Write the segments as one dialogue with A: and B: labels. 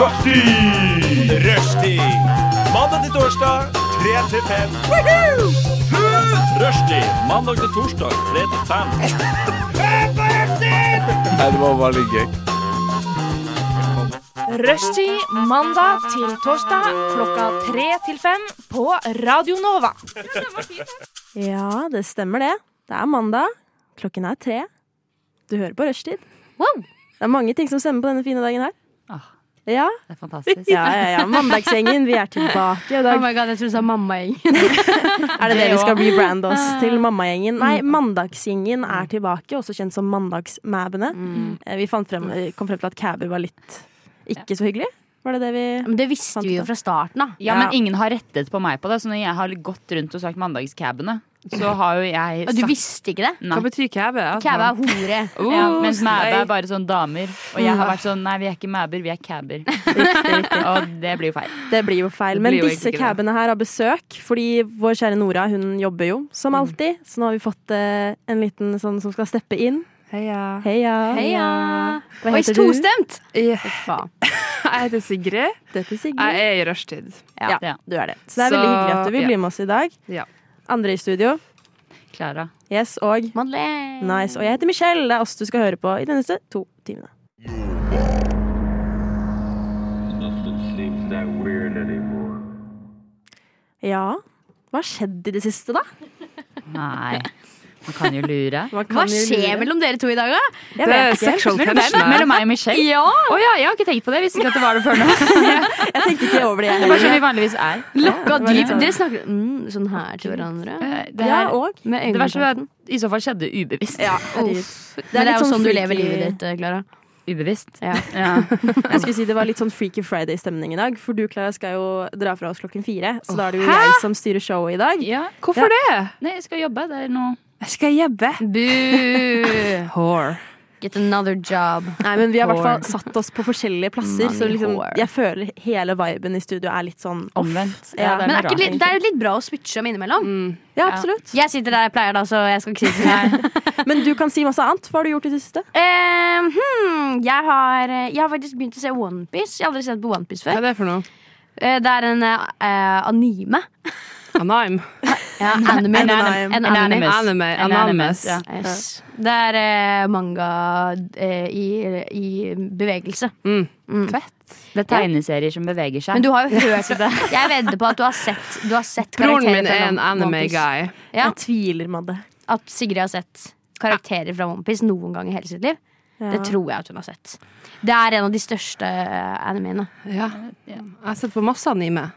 A: Rushtid! Rushtid! Mandag til torsdag, 3 til 5. Rushtid. Mandag til torsdag, 3 til 5.
B: Nei, det var veldig gøy.
C: Rushtid mandag til torsdag klokka tre til fem på Radio Nova.
D: Ja, det stemmer det. Det er mandag. Klokken er tre. Du hører på rushtid.
E: Wow.
D: Det er mange ting som stemmer på denne fine dagen her.
E: Ah.
D: Ja,
E: Det er fantastisk.
D: ja, ja. ja. Mandagsgjengen, vi er tilbake i
E: Oh
D: dag.
E: my god, jeg tror du sa mammagjeng.
D: Er det det
E: det Ah. Mm.
D: vi skal
E: også.
D: rebrande oss til? Mammagjengen. Nei, Mandagsgjengen er tilbake, også kjent som Mandagsmæbene.
E: Mm.
D: Eh, Vi fant frem, eh, kom frem til at caber var litt ikke så hyggelig. Var det det vi
E: Men det visste vi jo fra starten, da.
F: Ja,
D: Ja.
F: men ingen har rettet på meg på det. Så når jeg har gått rundt og sagt mandagscabene, så har jo jeg
E: Og du
F: sagt
E: visste ikke det?
F: Nei.
G: Hva betyr Altså, kæbe? At
E: Kæve
G: man-
E: er hore.
F: Oh,
E: Ja.
F: mens mæbe
G: nei.
F: er bare sånn damer. Og jeg har vært sånn nei, vi er ikke mæber, vi er caber. og det blir jo feil.
D: Det blir jo feil.
F: Det
D: Men
F: blir jo
D: disse
F: egentlig det.
D: cabene her har besøk, fordi vår kjære Nora hun jobber jo som alltid. Så nå har vi fått eh, en liten sånn som skal steppe inn.
G: Heia.
D: Heia.
E: Heia.
D: Hva
E: Oi,
D: heter du?
E: tostemt!
G: Jeg
E: Faen.
G: heter Sigrid.
D: Dette er Sigrid.
G: Jeg er i rushtid.
D: Ja,
F: Ja.
D: du er det. Så det er
G: Så-
D: veldig hyggelig at du vil bli med oss i dag.
G: Ja.
D: Andre i studio.
F: Klara.
D: Yes, og
E: Madeleine.
D: nice. Og jeg heter Michelle. Det er oss du skal høre på i de neste to timene. Ja, hva har skjedd i det siste, da?
F: Nei. Man kan jo lure.
D: Man kan
E: Hva
D: jo
E: skjer
D: lure.
E: mellom dere to i dag, da?
D: Jeg
G: Det er
D: vet ikke.
G: sexual
F: Mellom
G: tension. her.
F: mellom meg og Michelle?
E: Ja!
F: Å ja, jeg har ikke tenkt på det. Jeg visste ikke at det var det før nå.
D: Jeg tenkte ikke over det, jeg
F: Bare
D: heller.
F: som vi vanligvis er.
E: Lokka
D: det var litt
E: dypt.
D: sånn.
E: Dere snakker mm, sånn her til hverandre.
F: Eh, Det,
D: Ja,
F: her,
D: og
E: Med
F: det verste var
E: øyekontakten.
F: at i så fall skjedde ubevisst.
D: sånn- ja, herregud.
E: Uff. Men det er
D: litt
E: jo sånn du
D: freaky-
E: lever livet ditt, Klara.
F: Ubevisst.
E: Ja.
F: Ja.
D: Jeg skulle si Det var litt sånn Freaky Friday-stemning i dag, for du Clara, skal jo dra fra oss klokken fire. Så da er det jo jeg som styrer showet i dag.
F: ja.
G: Hvorfor det?
F: Nei, jeg skal jobbe. Det er noe
G: Jeg skal jobbe.
E: Boo!
G: Whore.
E: Get another job.
D: Nei, men Vi har i hvert fall
G: Hår.
D: satt oss på forskjellige plasser, så
E: Money
D: liksom,
E: whore.
D: jeg føler hele viben i studio er litt sånn
F: omvendt.
D: Ja,
F: det
E: Men
F: noe
E: er ikke
F: rart.
E: det, litt- det er jo litt bra å switche om innimellom.
D: Ja, absolutt.
E: Jeg sitter der jeg pleier, da, så jeg skal ikke si så mye.
D: Men du kan si masse annet. Hva har du gjort i det siste?
E: Eh, hmm, jeg, har, jeg har faktisk begynt å se Onepiece. Jeg har aldri sett på Onepiece
G: Hva
E: før.
G: er det for noe?
E: Eh, det er en eh, eh, anime.
G: Anime.
E: Ja, anime.
D: An-
E: Anime.
D: an-
E: En anime.
F: Anonymous.
G: Anime. Anonymous.
F: Ja.
E: Yes. Det er eh, manga eh, i, i bevegelse.
G: Mm.
F: Det er tegneserier som beveger seg.
E: Men du har jo hørt det. Jeg vedder på at du har sett, du har sett
G: Broren min
E: fra
G: er
E: One-
G: en
E: One
G: anime
E: Piece.
G: guy.
E: Ja.
D: Jeg tviler, Madde.
E: At Sigrid har sett karakterer fra Onepiece noen gang i hele sitt liv.
D: Ja.
E: Det tror jeg at hun har sett. Det er en av de største eh, animene.
G: Ja. Jeg har sett på masse anime.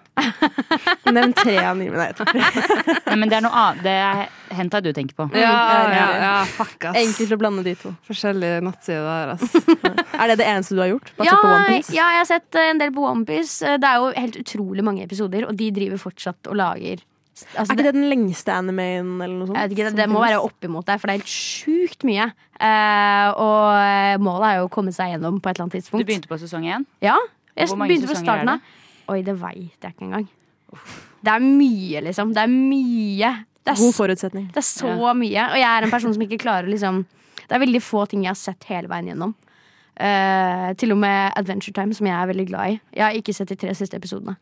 D: Nevn tre anime. Nei, jeg tror ikke.
F: Nei, men det er noe annet. Det er henta du tenker på.
G: Ja, ja, ja. Fuck, ass.
D: Enkelt å blande de to.
G: Forskjellige nattsider der, ass.
D: Er det det eneste du har gjort? Bare
E: Ja,
D: sett på One Piece?
E: ja, jeg har sett eh, en del på Onepiece. Det er jo helt utrolig mange episoder, og de driver fortsatt og lager altså,
D: Er ikke det den lengste animeen eller noe sånt?
E: Jeg vet ikke, det,
D: som
E: det må
D: finnes?
E: være oppimot der, for det er helt sjukt mye. Eh, og eh, målet er jo å komme seg gjennom på et eller annet
F: Du
E: tidspunkt.
F: begynte på sesong én.
E: Ja, jeg
F: Hvor mange
E: begynte fra
F: sesonger er
E: starten av. Oi, det veit jeg ikke engang. Det er mye, liksom. Det er mye. Det er,
D: God
E: s-
D: forutsetning.
E: det er så mye. Og jeg er en person som ikke klarer å liksom Det er veldig få ting jeg har sett hele veien gjennom. Eh, til og med Adventure Time, som jeg er veldig glad i. Jeg har ikke sett de tre siste episodene.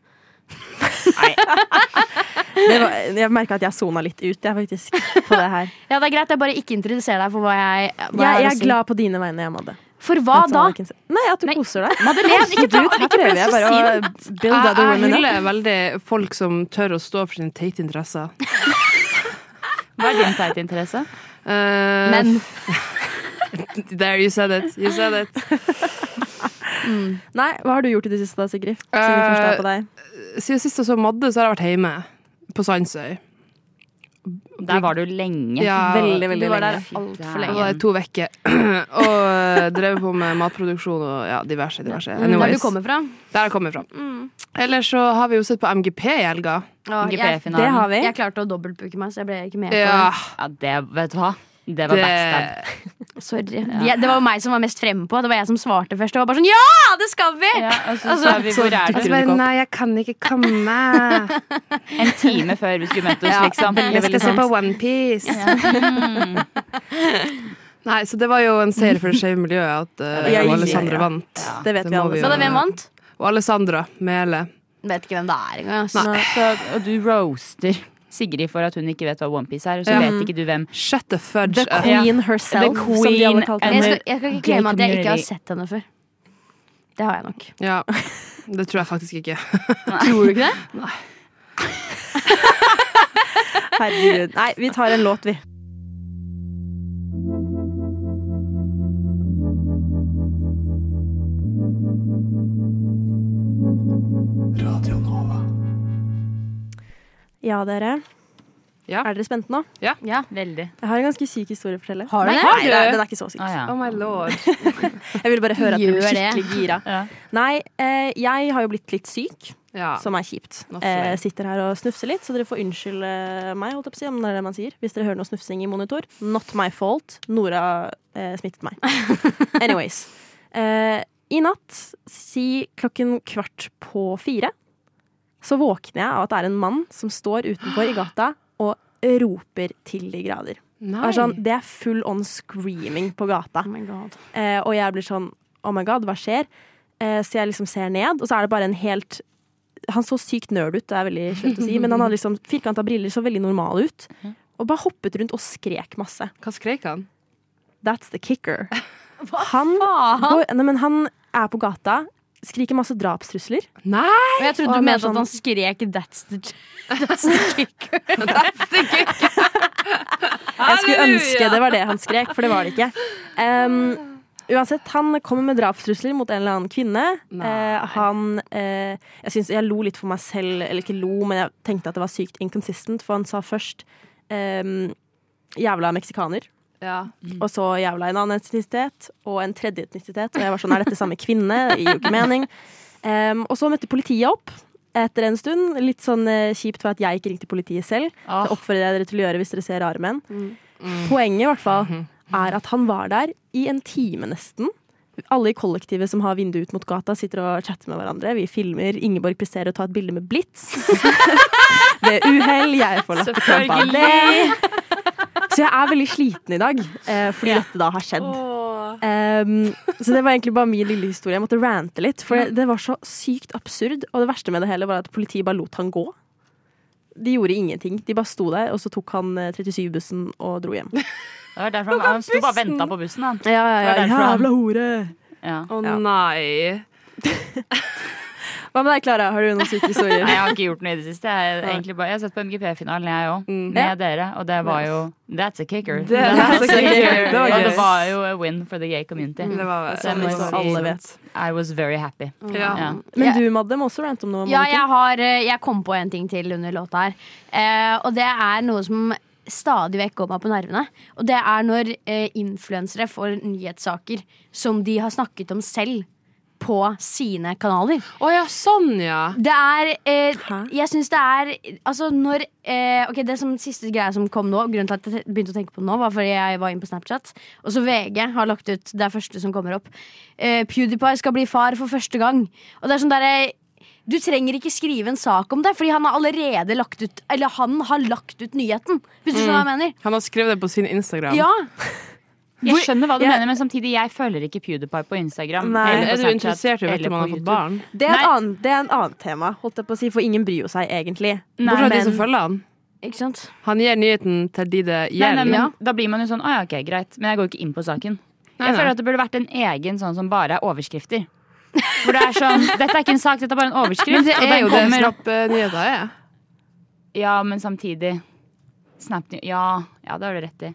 D: Det var, jeg merka at jeg sona litt ut, jeg, faktisk, på det her.
E: Ja, det er greit, jeg bare ikke interesserer deg for hva jeg hva
D: Jeg,
E: jeg
D: jeg
E: har å
D: er
E: si.
D: glad på dine vegne, jeg, Madde.
E: For hva
D: That's all
E: da?
D: I can say. Nei, at du
E: Nei.
D: koser deg.
E: Madeleine, ikke ta
D: Her
E: ikke
D: prøver
E: prøv
D: jeg
E: å
D: bare
E: si
D: å
E: det.
D: build
G: Jeg,
D: other
G: jeg
D: women up.
G: hyller veldig folk som tør å stå for sine teite interesser.
F: Hva er din teite interesse?
G: Eh,
E: Men
G: There, you said it. You said it.
D: Nei, hva har du gjort i det siste da, Sigrid? Siden vi først er på deg.
G: Siden sist jeg så Madde, så har jeg vært hjemme. På Sandsøy.
F: Der var du lenge.
G: Ja,
D: Veldig, veldig
E: du var
D: lenge.
E: der altfor
G: Da
E: lenge.
G: var jeg to uker. og eh, drev på med matproduksjon og ja, diverse, diverse.
E: Mm. Der
G: Anyways.
E: du kommer fra.
G: Der jeg kommer fra. Ellers så har vi jo sett på MGP i helga.
E: Ja, jeg,
D: Det har
F: GP-finalen.
D: vi.
E: jeg klarte å dobbeltbooke meg, så jeg ble ikke med.
G: Ja,
F: Ja, det, vet du hva? Det var
G: det,
F: backstab.
E: På det. Sorry. Jeg- det var jo meg som var mest fremme på. Det var jeg som svarte først. Og var bare sånn Ja, det skal vi!
F: Ja, og Altså, så sa vi hvor er
G: Jeg
F: det?
G: bare, nei, jeg kan ikke komme.
F: En time før vi skulle møte oss, liksom.
G: Jeg skal se på Onepiece. Nei, så det var jo en seier for det skeive miljøet at eh,
D: Ja, ja, ja.
G: Alessandra vant.
D: Det vet
G: Det
D: vi
G: må
D: alle
G: vi
D: sammen.
E: Men da, hvem vant?
G: Og Alessandra Mele.
E: Vet ikke hvem det er engang. ass.
F: Nei, Så, og du roaster Sigrid for at hun ikke vet hva Onepiece er, og så
G: Ja.
F: vet ikke du hvem.
G: Shut the
F: The
G: fudge up.
F: Ja.
D: Queen herself,
F: The
D: som de
F: queen
D: alle kalte
F: and-
D: henne.
E: Jeg skal, jeg skal ikke
F: Gay
E: glemme at jeg ikke har
F: community.
E: sett henne før. Det har jeg nok.
G: Ja. Det tror jeg faktisk ikke.
E: Tror du ikke det?
D: Herregud. Nei, vi tar en låt, vi. Ja, dere.
G: Ja.
D: Er dere spente nå?
E: Ja.
F: Veldig.
D: Jeg har en ganske syk historie å fortelle.
E: Har du
D: Nei,
E: det?
D: Nei, det er, den er ikke så syk.
F: Ah, ja.
G: Oh my lord.
D: Jeg ville bare høre at dere ble
E: Gjør det.
D: skikkelig gira.
F: Ja.
D: Nei, eh, jeg har jo blitt litt syk,
G: Ja.
D: som er kjipt.
G: Nå
D: Eh,
G: fløy.
D: sitter her og snufser litt, så dere får unnskylde meg, holdt jeg på å si, om det er det man sier. Hvis dere hører noe snufsing i monitor. Not my fault. Nora eh, smittet meg. Anyways. Eh, I natt, si klokken kvart på fire, så våkner jeg av at det er en mann som står utenfor i gata og roper til de grader. Det
G: Nei.
D: er, sånn, det er full on screaming på gata.
E: Oh my god.
D: Eh, og jeg blir sånn Oh my god, hva skjer? Eh, så jeg liksom ser ned, og så er det bare en helt Han så sykt nerd ut, det er veldig slemt å si, men han hadde liksom firkanta briller, så veldig normal ut. Og bare hoppet rundt og skrek masse.
G: Hva skrek han?
D: That's the kicker. Han, går, nei, men han er på gata, skriker masse drapstrusler.
G: Nei!
E: Og jeg trodde
D: Og han
E: du
D: er
E: mente
D: sånn-
E: at han skrek 'that's the, that's the kicker'.
D: Jeg skulle ønske det var det han skrek, for det var det ikke. Um, uansett, han kommer med drapstrusler mot en eller annen kvinne.
G: Nei.
D: Eh, han eh, jeg, synes, jeg lo litt for meg selv, eller ikke lo, men jeg tenkte at det var sykt inconsistent, for han sa først ehm, jævla meksikaner,
G: Ja.
D: og så jævla en annen etnisitet, og en tredje etnisitet, og jeg var sånn, er dette samme kvinne? Det gir jo ikke mening. Ehm, og så møtte politiet opp. Etter en stund, litt sånn eh, kjipt for at jeg ikke ringte politiet selv.
F: Ah.
D: Det oppfordrer jeg dere til å gjøre hvis dere ser rare menn. Poenget i hvert fall er at han var der i en time nesten. Alle i kollektivet som har vinduet ut mot gata, sitter og chatter med hverandre. Vi filmer. Ingeborg presterer å ta et bilde med blits. Ved uhell. Jeg får latterkrampe av det. Så jeg er veldig sliten i dag, eh, fordi dette da har skjedd. Ehm, så det var egentlig bare min lille historie. Jeg måtte rante litt, for det, det var så sykt absurd. Og det verste med det hele var at politiet bare lot han gå. De gjorde ingenting. De bare sto der, og så tok han eh, 37-bussen og dro hjem.
F: Det var derfor han, han sto bare og venta på bussen, han.
D: Ja, ja,
F: Det var derfor han-
D: hore!
F: Ja.
G: Å nei.
D: Hva med deg, Klara? Har du noen syke historier?
F: Nei, jeg har ikke gjort noe i det siste. Jeg, er egentlig bare, jeg har sett på MGP-finalen, jeg òg.
G: Mhm.
F: Med dere. Og det var jo That's a kicker.
G: that's a kicker. Det
F: Og
G: var
F: det
G: gøy.
F: var jo a win for the gay community.
G: Det var Mm.
F: Så jeg må
D: Som
F: jo si-
D: alle vet.
F: I was very happy.
G: Ja.
F: Ja.
D: Men du, Madde, må også rante om noe. må
E: Ja,
D: du ikke?
E: jeg, har, eh, jeg kom på en ting til under låta her. Eh, og det er noe som stadig vekk går meg på nervene. Og det er når eh, influensere får nyhetssaker som de har snakket om selv på sine kanaler.
G: Å ja, sånn, ja.
E: Det er eh,
D: Hæ?
E: Jeg syns det er Altså når eh, Ok, det som siste greia som kom nå, grunnen til at jeg te- begynte å tenke på det nå, var fordi jeg var inne på Snapchat. Og så VG har lagt ut det er første som kommer opp. Eh, PewDiePie skal bli far for første gang. Og det er sånn der, eh, du trenger ikke skrive en sak om det, fordi han har allerede lagt ut Eller han har lagt ut nyheten. Hvis du skjønner hva jeg mener?
G: Han har skrevet det på sin Instagram.
E: Ja,
F: Jeg skjønner hva du
D: Ja.
F: mener, men samtidig, jeg følger ikke PewDiePie på Instagram.
D: Nei.
F: eller på
G: Er du
F: Snapchat,
G: interessert i å
F: eller
G: vite om
F: på
G: han har fått
F: YouTube.
G: barn?
D: Det er, et
F: Nei.
D: annet, det er en annet tema, holdt jeg på å si, for ingen bryr jo seg egentlig.
G: Bortsett fra de
D: men-
G: som følger han.
E: ikke sant?
G: Han gir nyheten til de det
F: Nei, nei,
G: gjelder.
F: men
E: Ja.
F: Da blir man jo sånn Å ja, ok, greit. Men jeg går ikke inn på saken.
G: Nei,
F: jeg
G: nei.
F: føler at det burde vært en egen sånn som bare er overskrifter. For det er sånn Dette er ikke en sak, dette er bare en overskrift.
G: Men det
F: og
G: er
F: den
G: jo det
F: kommer opp-
G: Snap-nyheter er.
F: Ja, men samtidig Snap Ja, ja, det har du rett i.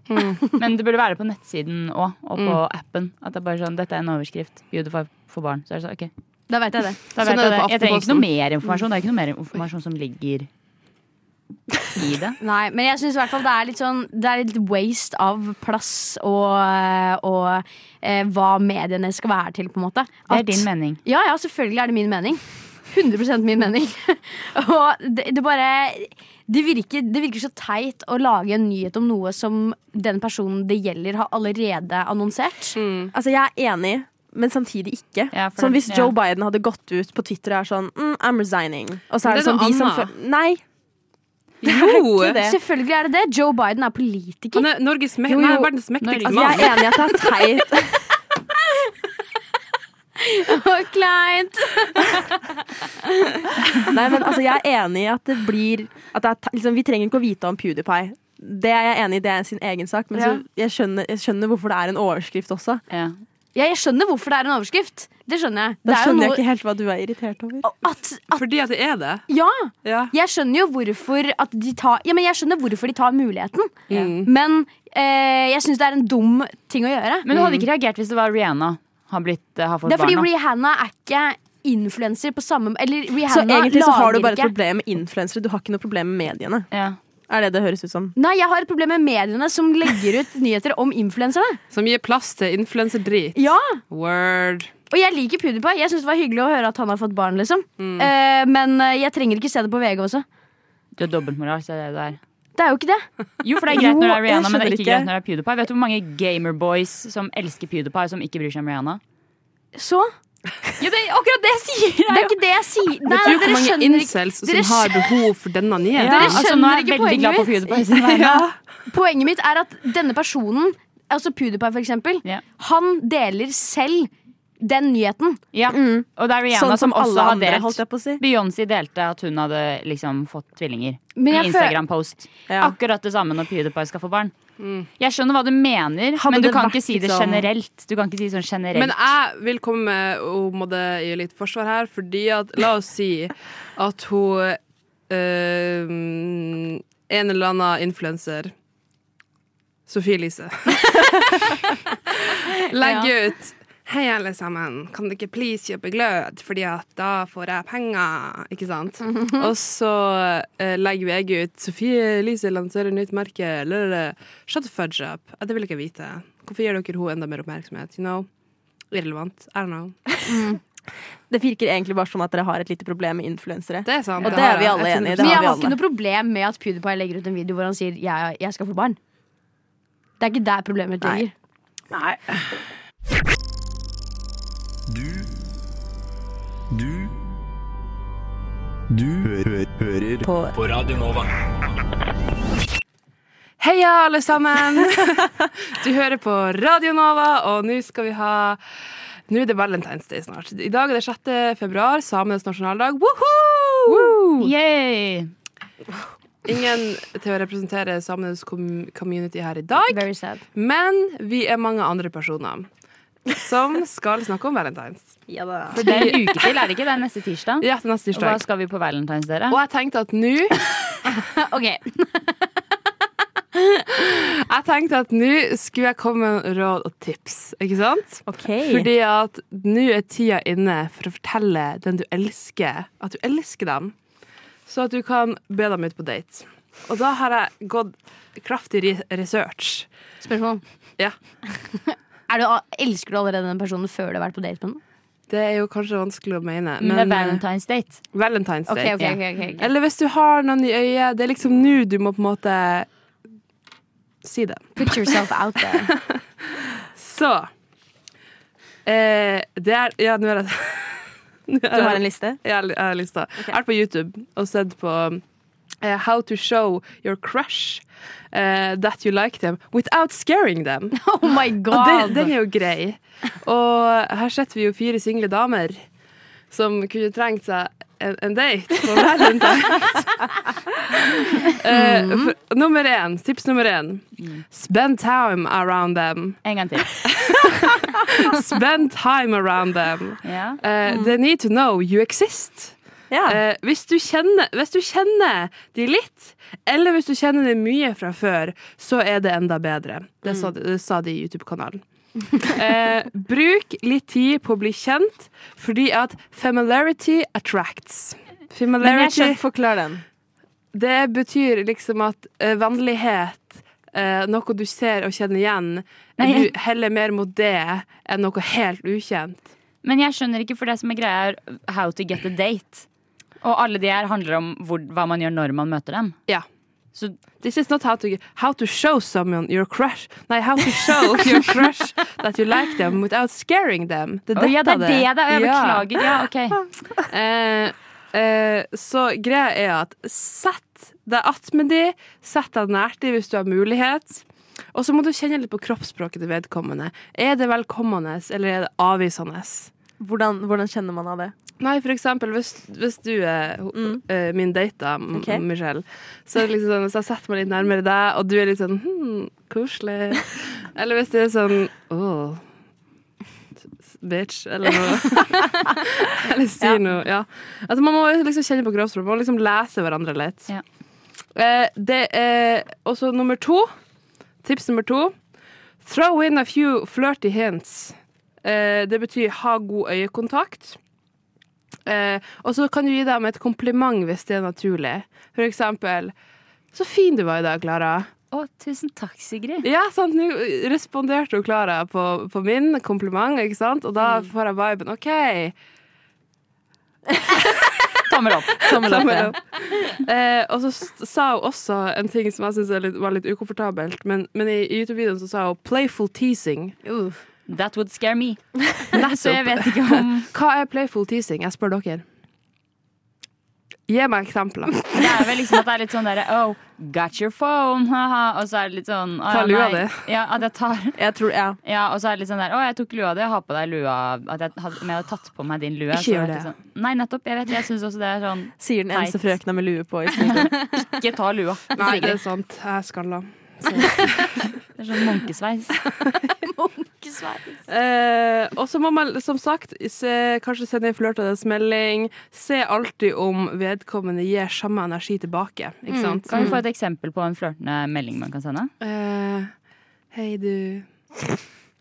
F: Men det burde være på nettsiden òg, og på appen. At det er bare sånn Dette er en overskrift. Beautiful for barn. Så er det sånn, ok.
E: Da veit jeg det.
F: Da
G: Sånn
F: vet
G: er
F: jeg
G: det
F: det.
G: på
F: Jeg trenger ikke noe
G: Aftenposten.
F: mer informasjon. Det er ikke noe mer informasjon som ligger i det.
E: Nei, men jeg syns i hvert fall det er litt sånn Det er litt waste av plass og, og eh, hva mediene skal være til, på en måte.
F: Det
E: At-
F: er din mening.
E: Ja, ja, selvfølgelig er det min mening. 100 min mening. og det, det bare det virker, det virker så teit å lage en nyhet om noe som den personen det gjelder, har allerede annonsert.
D: Altså, jeg er enig, men samtidig ikke.
F: Ja, for
D: som
F: det-
D: hvis
F: ja.
D: Joe Biden hadde gått ut på Twitter og er sånn mm, I'm resigning. Og så er det,
G: Det er
D: sånn
G: noe
D: de som
G: annet.
D: føl- Nei,
G: Jo!
D: ikke det.
E: Selvfølgelig er det det. Joe Biden er politiker.
G: Han er Norges me
D: Jo, jo.
G: Nei, verdens mektigste
F: Norge.
D: Altså, jeg er
G: mann.
D: enig i at det er teit.
E: Og kleint!
D: Nei, men altså, jeg er enig i at det blir at det er, ta- liksom, Vi trenger ikke å vite om PewDiePie. Det er jeg enig i, det er sin egen sak, men så, jeg, skjønner, jeg skjønner hvorfor det er en overskrift også.
F: Ja.
E: Ja, jeg skjønner hvorfor det er en overskrift. Det skjønner jeg.
D: Da
E: det er jo
D: skjønner
E: noe-
D: jeg ikke helt hva du er irritert over.
E: At,
F: Altså,
E: at,
G: Fordi at det er det.
E: ja,
G: Ja.
E: jeg skjønner jo hvorfor at de tar Ja, men jeg skjønner hvorfor de tar muligheten.
G: Mm.
E: Men eh, jeg syns det er en dum ting å gjøre.
F: Men du hadde ikke reagert hvis det var Rihanna har, blitt, eh, har fått
E: Det er fordi
F: barna.
E: Rihanna er ikke influenser på samme Eller Rihanna
D: Så egentlig så har du
E: lager
D: bare et
E: ikke-
D: problem med influensere, du har ikke noe problem med mediene.
F: ja.
D: Er det det høres ut som?
E: Nei, jeg har et problem med mediene som legger ut nyheter om influenserne.
G: Som gir plass til influenserdrit.
E: Ja,
G: Word.
E: Og jeg liker PewDiePie. Jeg synes det var hyggelig å høre at han har fått barn. liksom
D: Mm.
E: Eh, Men eh, jeg trenger ikke se det på VG også.
F: Du er dobbeltmoral, så er det der.
E: Det er jo ikke det.
F: Jo, for det er greit når det
D: Jo,
F: er
D: jeg
F: Rihanna, men det er
D: skjønner
F: ikke
D: ikke.
F: greit når det er PewDiePie. Vet du hvor mange gamerboys som elsker PewDiePie, som ikke bryr seg om Rihanna?
E: Så
F: Ja, det er akkurat det jeg sier!
E: Det er ikke det jeg sier. Nei,
G: Vet du hvor
E: dere
G: mange
E: skjønner ikke
G: incels som
E: dere
G: har behov for denne nyheten?
E: Dere
F: altså, nå er
E: skjønner
F: jeg
E: ikke
F: veldig glad på
E: poenget
F: PewDiePie sin vegne.
E: Poenget mitt er at denne personen, altså PewDiePie for eksempel,
F: Ja.
E: han deler selv den nyheten.
F: Ja. Og det er Rihanna
D: Sånn
F: som,
D: som alle
F: også har
D: andre, holdt
F: delt.
D: jeg på å si.
F: Beyoncé delte at hun hadde liksom fått tvillinger.
E: Men
F: I
E: jeg føler-
F: Instagram-post.
D: Ja.
F: Akkurat det samme når PewDiePie skal få barn. Jeg skjønner hva du mener,
D: Hadde
F: men du
D: det
F: kan
D: vært
F: ikke si det
D: liksom-
F: generelt. Du kan ikke si sånn generelt.
G: Men jeg vil komme med og må det gi litt forsvar her, fordi at La oss si at hun øhm, En eller annen influenser Sofie Elise. Legger ut Hei, alle sammen. Kan dere please kjøpe glød, fordi at da får jeg penger? Ikke sant? Og så eh, legger VG ut Sofie Elise lanserer nytt merke. Lalalalala. Shut the fudge up. Eh, Det vil ikke jeg vite. Hvorfor gir dere henne enda mer oppmerksomhet? You know? Irrelevant. I don't know.
D: Det virker egentlig bare som at dere har et lite problem med influensere.
G: Det er sant.
D: Og det er vi alle enige i, det
E: Men
D: har
E: jeg
D: vi
E: har ikke
D: alle.
E: noe problem med at PewDiePie legger ut en video hvor han sier jeg, 'jeg skal få barn'. Det er ikke der problemet mitt ligger.
B: Du Du Du hø hø hører på. på Radio Nova.
G: Heia, alle sammen! Du hører på Radio Nova, og nå skal vi ha Nå er det Valentine's Day snart. I dag er det 6. februar, samenes nasjonaldag. Woohoo!
F: Yay!
G: Ingen til å representere samenes kom- community her i dag,
E: Very sad.
G: men vi er mange andre personer som skal snakke om valentines.
F: For det er en uke til, er det ikke? Det er neste tirsdag.
G: Ja, til neste
F: Og hva
G: tirsdag.
F: skal vi på Valentine's, dere?
G: Og jeg tenkte at nå
E: Ok,
G: Jeg tenkte at nå skulle jeg komme med råd og tips, ikke sant?
D: Okay.
G: Fordi at nå er tida inne for å fortelle den du elsker, at du elsker dem, så at du kan be dem ut på date. Og da har jeg gått kraftig re- research.
E: Spørsmål.
G: Ja.
E: Er du, elsker du allerede den personen før du har vært på date med den?
G: Det er jo kanskje vanskelig å mene,
F: Men det er
G: men eh,
F: Valentine's date.
G: Valentine's
E: Ok,
G: Day.
E: ok, ok, ok, ok.
G: Eller hvis du har noen i øyet, det er liksom nå du må på en måte si det.
E: Put yourself out there.
G: Så eh, Det er Ja, nå er det
D: Du har en liste?
G: Jeg har, jeg har lista. Jeg har vært på YouTube og sett på eh, How to show your crush eh, that you like them without scaring them.
E: Oh my
G: Og
E: god!
G: den, den er jo grei. Og her setter vi jo fire single damer som kunne trengt seg en, en date på Valentine's. Eh, for, nummer én, tips nummer én. Spend time around them.
F: En gang til.
G: Spend time around them.
F: Ja.
G: Eh, They need to know you exist.
D: Ja.
G: Eh, hvis, du kjenner, hvis du kjenner de litt, eller hvis du kjenner de mye fra før, så er det enda bedre. Det sa,
D: Mm.
G: det sa de i YouTube-kanalen. eh, bruk litt tid på å bli kjent, fordi at familiarity attracts.
D: Men jeg
G: Familiarity,
D: skjønner, forklar den.
G: det betyr liksom at eh, vennlighet, eh, noe du ser og kjenner igjen,
F: Nei,
G: du
F: jeg-
G: heller mer mot det enn noe helt ukjent.
F: Men jeg skjønner ikke, for det som er greia er how to get a date. Og alle de her handler om hvor, hva man gjør når man møter dem.
G: Ja.
F: Så
G: This is not how to how to show someone your crush. Nei, how to show your crush that you like them without scaring them. Det er
F: Å, ja, det er det det er. Jeg
G: Ja.
F: beklager. Ja, ok.
G: Eh, eh, så greia er at sett deg attmed de, sett deg nært de hvis du har mulighet. Og så må du kjenne litt på kroppsspråket til vedkommende. Er det velkommende, eller er det avvisende?
D: Hvordan, hvordan kjenner man av det?
G: Nei, for eksempel hvis, hvis du er ho-
D: Mm.
G: eh, min date, da, M-
D: Ok.
G: Michelle, så er det liksom sånn hvis jeg setter meg litt nærmere deg, og du er litt sånn hm, koselig. Eller hvis du er sånn åh, bitch, eller noe. eller sier noe. Ja. Altså, man må liksom kjenne på kroppsspråk. Man må liksom lese hverandre litt.
F: Ja.
G: Eh, det er også nummer to. Tips nummer to. Throw in a few flirty hints. Eh, det betyr ha god øyekontakt. Eh, og så kan du gi dem et kompliment hvis det er naturlig. For eksempel Så fin du var i dag, Klara.
F: Å, tusen takk, Sigrid.
G: Ja, sant, nå responderte jo Klara på, på min kompliment, ikke sant? Og da
F: Mm.
G: får jeg viben. OK.
F: Tommel opp.
G: Tommel opp. Eh, og så s- sa hun også en ting som jeg syns var litt ukomfortabelt, men, men i i YouTube-videoen så sa hun 'playful teasing'.
F: That would scare me. Så jeg vet ikke om
G: Hva er playful teasing? Jeg spør dere. Gi meg eksempler.
F: Det er vel liksom at det er litt sånn derre Oh, got your phone, haha. Og så er det litt sånn «Å,
G: Ta
F: ja,
G: lua
F: nei». Ja, at jeg tar
D: Jeg tror, ja.
F: Ja, og så er det litt sånn der Å, jeg tok lua di, jeg har på deg lua At jeg hadde, om jeg hadde tatt på meg din lue.
G: Ikke
F: så er
G: gjør
F: litt
G: det.
F: Sånn, nei, nettopp. Jeg vet, jeg syns også det er sånn
D: Sier den eneste
F: Teit.
D: frøkna med lue på. i sminken.
F: Ikke ta lua.
G: Nei, det er
F: Sigrid.
G: sant. Jeg er skalla.
F: Det er sånn munkesveis.
G: Eh, og så må man som sagt se, kanskje sende en flørtende melding. Se alltid om vedkommende gir samme energi tilbake.
E: Mm,
G: Ikke sant?
F: Kan vi få et eksempel på en flørtende melding man kan sende?
G: Eh, Hei, du.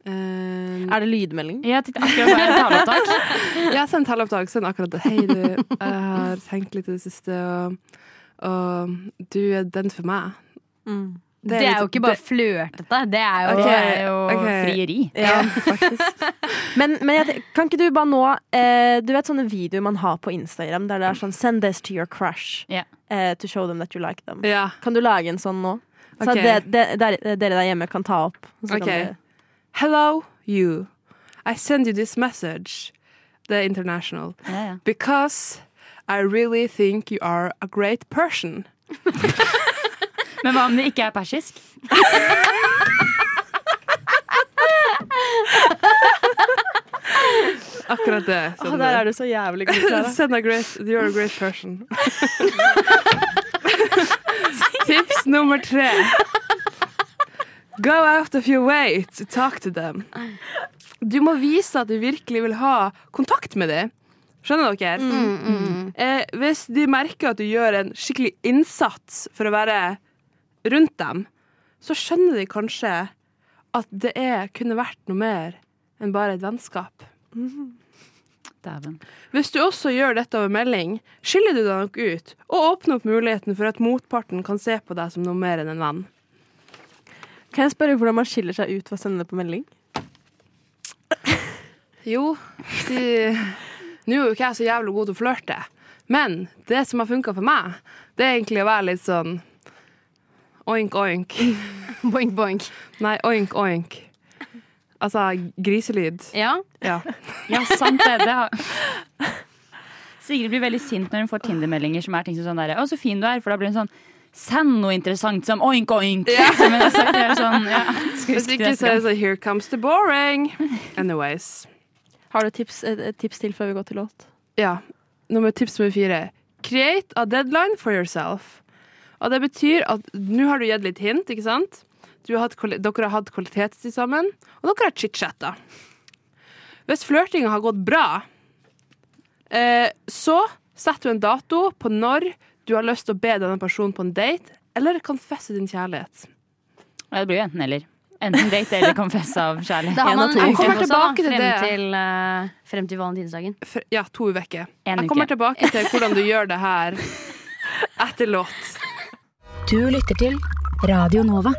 G: Eh,
D: Er det lydmelding?
F: Jeg tenkte akkurat på en taleopptak.
G: jeg har sendt halvopptak, send akkurat det. Hei, du. Jeg har tenkt litt i det siste, og, og du er den for meg.
D: Mm.
E: Det er jo
G: litt-
E: ikke bare flørtete. Det er jo
F: Det
G: Ok.
F: er jo
G: ok.
F: frieri.
D: Ja, faktisk. Men, men jeg, te- kan ikke du bare nå eh, Du vet sånne videoer man har på Instagram der det er sånn 'Send this to your crush
F: Ja.
D: eh, to show them that you like them'.
G: det- Ja.
D: Kan du lage en sånn nå? Så
G: Ok.
D: at det, det, der, dere der hjemme kan ta opp. og så kan
G: Ok.
D: dere-
G: Hello, you. I send you this message. Det er international.
F: Ja, ja.
G: Because I really think you are a great person.
F: Men hva om det ikke er persisk?
G: Akkurat det.
D: Å, Ah, der er du så jævlig god. Clara.
G: Send a great, you're a great person. Tips nummer tre. Go out of your way to talk to them. Du må vise at du virkelig vil ha kontakt med dem. Skjønner dere? Eh, hvis de merker at du gjør en skikkelig innsats for å være rundt dem, så skjønner de kanskje at det er, kunne vært noe mer enn bare et vennskap.
F: Dæven.
G: Hvis du også gjør dette over melding, skiller du deg nok ut, og åpner opp muligheten for at motparten kan se på deg som noe mer enn en venn.
D: Kan jeg spørre hvordan man skiller seg ut ved å sende det på melding?
G: Jo, de... nå er jo ikke jeg så jævlig god til å flørte, men det som har funka for meg, det er egentlig å være litt sånn oink, oink.
E: boink, boink.
G: Nei, oink, oink. Altså griselyd.
E: Ja.
G: Ja.
F: Ja, sant det. det har... Sigrid blir veldig sint når hun får Tinder-meldinger som er ting som sånn der, 'Å, så fin du er', for da blir hun sånn Send noe interessant som oink oink. Som hun har sagt, det er sånn, ja. Skal
G: Hvis
F: huske
G: ikke
F: neste
G: så er
F: gang.
G: det sånn Here comes the boring. Anyways.
D: Har du tips, et, et tips til før vi går til låt?
G: Ja. Nummer tips nummer fire. Create a deadline for yourself. Og det betyr at nå har du gitt litt hint, ikke sant? Du har hatt, kvali- dere har hatt kvalitetstid sammen, og dere har chit-chatta. Hvis flørtinga har gått bra, eh, så setter du en dato på når du har lyst til å be denne personen på en date, eller confesse din kjærlighet.
F: Ja, det blir jo enten eller. Enten date eller confess av kjærlighet.
E: Da har
D: En
E: man
D: av to.
E: en uke
G: Kommer
E: på seg, da,
G: tilbake til
E: frem,
G: det.
E: til, eh, frem til valentinsdagen.
G: For, ja, to uker.
F: En
G: Jeg kommer
F: uke.
G: tilbake til hvordan du gjør det her etter låt.
H: Du lytter til Radio Nova.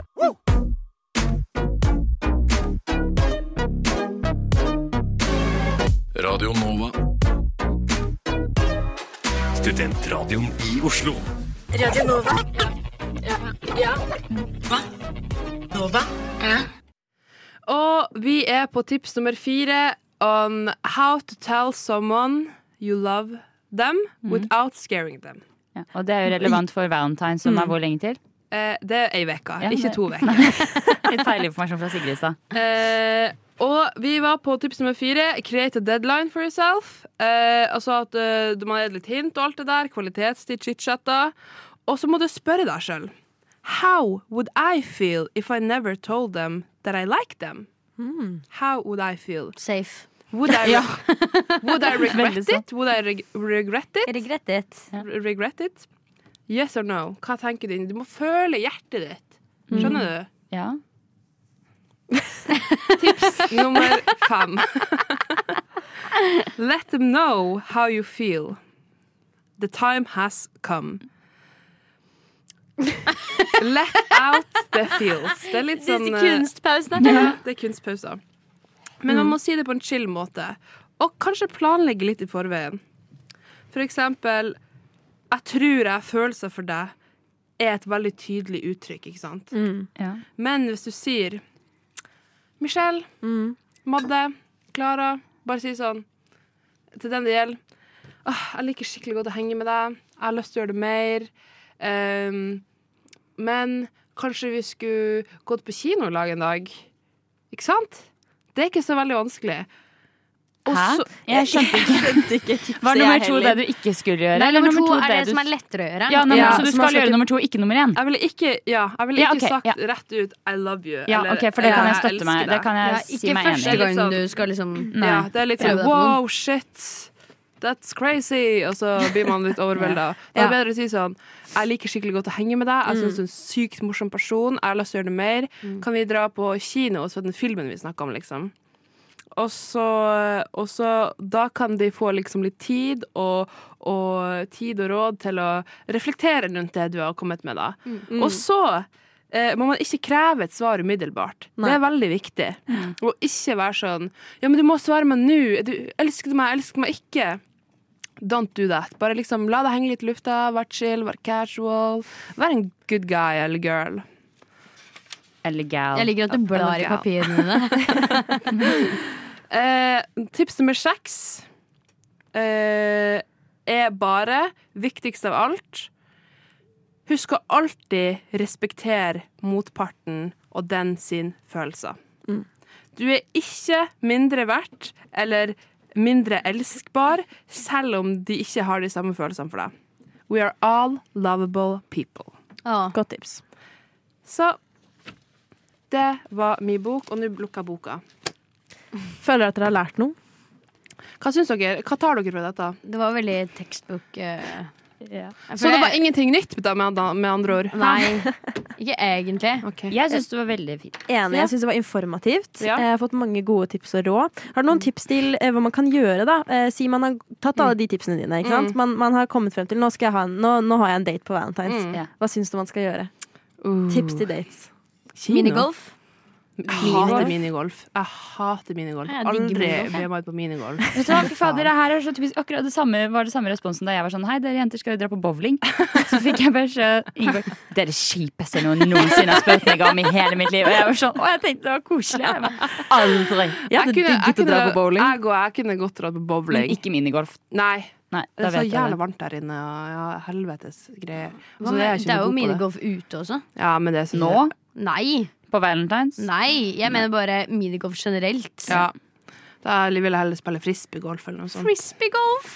B: Radio Nova.
A: Studentradioen i Oslo.
G: Og vi er på tips nummer fire on how to tell someone you love them without scaring them.
E: Mm.
F: Ja, og det er jo relevant for Valentine, som er hvor lenge til?
G: Eh, det er ei uke,
F: Ja,
G: ikke
F: det-
G: to uker.
F: Litt feilinformasjon fra Sigrid i stad.
G: Eh, og vi var på tips nummer fire. Create a deadline for yourself. Eh, altså at eh, du må gi litt hint og alt det der. Kvalitetstid, chit-chatter. Og så må du spørre deg sjøl. How would I feel if I never told them that I like them? How would I feel?
E: Safe.
G: Would I, would I
F: Veldig
G: regret
F: sant.
G: it? Would I reg regret it?
E: Regrettet.
G: Regret it? Yes or no? Hva tenker du? Du må føle hjertet ditt. Skjønner du?
F: Ja.
G: Tips nummer fem. Let them know how you feel. The time has come. Let out the feels. Det er litt sånn eh,
E: kunstpausene.
G: ja, Det er kunstpauser. Men man må si det på en chill måte, og kanskje planlegge litt i forveien. For eksempel Jeg tror jeg følelser for deg er et veldig tydelig uttrykk, ikke sant?
F: ja.
G: Men hvis du sier Michelle,
F: Mm.
G: Madde, Klara Bare si sånn til den det gjelder. Åh, jeg liker skikkelig godt å henge med deg. Jeg har lyst til å gjøre det mer. Ehm, men kanskje vi skulle gått på kino i lag en dag. Ikke sant? Det er ikke så veldig vanskelig. Og
F: Hæ?
G: så-
F: Jeg skjønte ikke. Var nummer to det du ikke skulle gjøre?
E: Nei,
F: eller
E: nummer to er
F: det
E: det
F: du-
E: som er lettere å gjøre.
F: Ja, nummer,
G: Ja,
F: så du
G: som er
F: skal gjøre
G: slett-
F: nummer to, ikke nummer én?
G: Jeg ville ikke, ja, jeg ville
F: Ja,
G: ikke
F: ok,
G: sagt
F: ja.
G: rett ut 'I love you'.
F: Ja,
G: eller,
F: ok, for det
G: «Ja,
F: kan jeg
G: elsker
F: støtte meg Det
G: deg».
F: kan jeg
E: Ja,
F: si
E: ikke
F: meg enig
E: første
F: i.
G: Det er litt
E: gang du
G: sånn-
E: skal liksom
F: Nei.
G: Ja, det er litt sånn
E: Prøve deg på
G: wow, shit, that's crazy. Og så blir man litt overvelda. Da er det bedre å si sånn Jeg liker skikkelig godt å henge med deg. Jeg syns du er en sykt morsom person. Jeg har lyst til å gjøre det mer. Kan vi dra på kino og se den filmen vi snakka om, liksom? Og så, og så Da kan de få liksom litt tid og, og tid og råd til å reflektere rundt det du har kommet med, da. Og så eh, må man ikke kreve et svar umiddelbart. Det er veldig viktig. Og ikke være sånn Ja, men du må svare meg nå. Du, elsker du meg? Elsker du meg ikke? Don't do that. Bare liksom la det henge litt i lufta. Vær chill, vær casual. Vær en good guy eller girl.
F: Eller gal.
E: Jeg liker at du blar i
G: Ja.
E: papirene dine.
G: Eh, tips nummer seks eh, er bare, viktigst av alt Husk å alltid respektere motparten og den sin følelser. Du er ikke mindre verdt eller mindre elskbar selv om de ikke har de samme følelsene for deg. We are all lovable people.
E: Å,
D: Godt tips.
G: Så det var min bok, og nå lukker jeg boka.
D: Føler dere at dere har lært noe?
G: Hva syns dere? Hva tar dere fra dette?
E: det var veldig tekstbok eh, for
G: Så det
E: jeg-
G: var ingenting nytt da, med, da, med andre ord?
E: Nei, ikke egentlig.
F: Jeg syns det var veldig fint.
D: Enig. Jeg syns det var informativt.
G: Ja.
D: Jeg har fått mange gode tips og råd. Har du noen tips til eh, hva man kan gjøre, da? Eh, si man har tatt alle de tipsene dine. Ikke sant? Man, man har kommet frem til nå, skal jeg ha en, nå, nå har jeg en date på Valentine's.
F: Ja.
D: Hva syns du man skal gjøre? Tips til dates.
E: Minigolf.
G: Jeg hater minigolf. Jeg hater minigolf.
E: Jeg digger
G: Aldri
E: minigolf,
G: be meg ut på minigolf.
F: Vet du hva, fy fader, det her er så typisk Akkurat det samme var det samme responsen da jeg var sånn Hei, dere jenter, skal vi dra på bowling? Så fikk jeg beskjed Ingeborg Dere kjipeste noen noensinne har spurt meg om i hele mitt liv. Og jeg var sånn Å, jeg tenkte det var koselig. Jeg bare, Aldri.
D: Jeg hadde digget å dra på bowling.
G: Jeg, og jeg kunne godt dratt på
F: Men
G: bowling.
F: ikke minigolf.
G: Nei.
F: Nei,
G: Det
F: da
G: er så
F: vet jeg
G: jævlig
F: det.
G: varmt der inne, og ja, helvetes greier. Og
E: Hva
G: så
E: med-
G: er jeg
E: det
G: ikke
E: er
G: noe
E: jo
G: god på det.
E: minigolf ute også.
G: Ja, men det synes
F: Nå,
G: jeg-
E: Nei,
F: på Valentine's,
E: nei, jeg mener bare minigolf generelt.
G: Ja. Da vil jeg heller spille frisbeegolf eller noe sånt.
E: Frisbeegolf.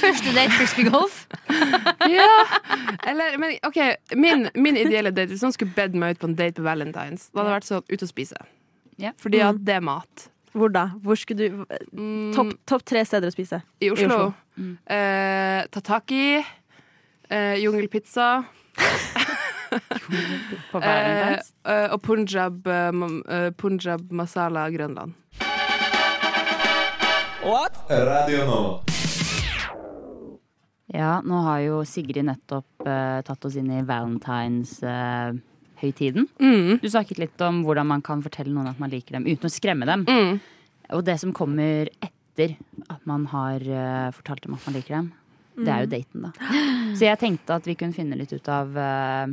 E: Første date frisbeegolf.
G: Eller, men ok, min, min ideelle date Hvis noen skulle bedt meg ut på en date på Valentine's, da hadde det vært sånn ut og spise.
F: Ja. Mm.
G: Fordi at det er mat.
D: Hvor da? Hvor skulle du Topp topp tre steder å spise.
G: I Oslo.
D: Oslo. Mm.
G: Eh, tataki. Eh, jungelpizza.
F: på
G: Eh,
F: Valentine's.
G: eh, og punjab, eh, mam- eh, punjab masala Grønland.
B: Radio Nova.
F: Ja, nå har jo Sigrid nettopp eh, tatt oss inn i valentines-høytiden. Du snakket litt om hvordan man kan fortelle noen at man liker dem uten å skremme dem. Og det som kommer etter at man har eh, fortalt dem at man liker dem, det er jo daten, da. Så jeg tenkte at vi kunne finne litt ut av eh,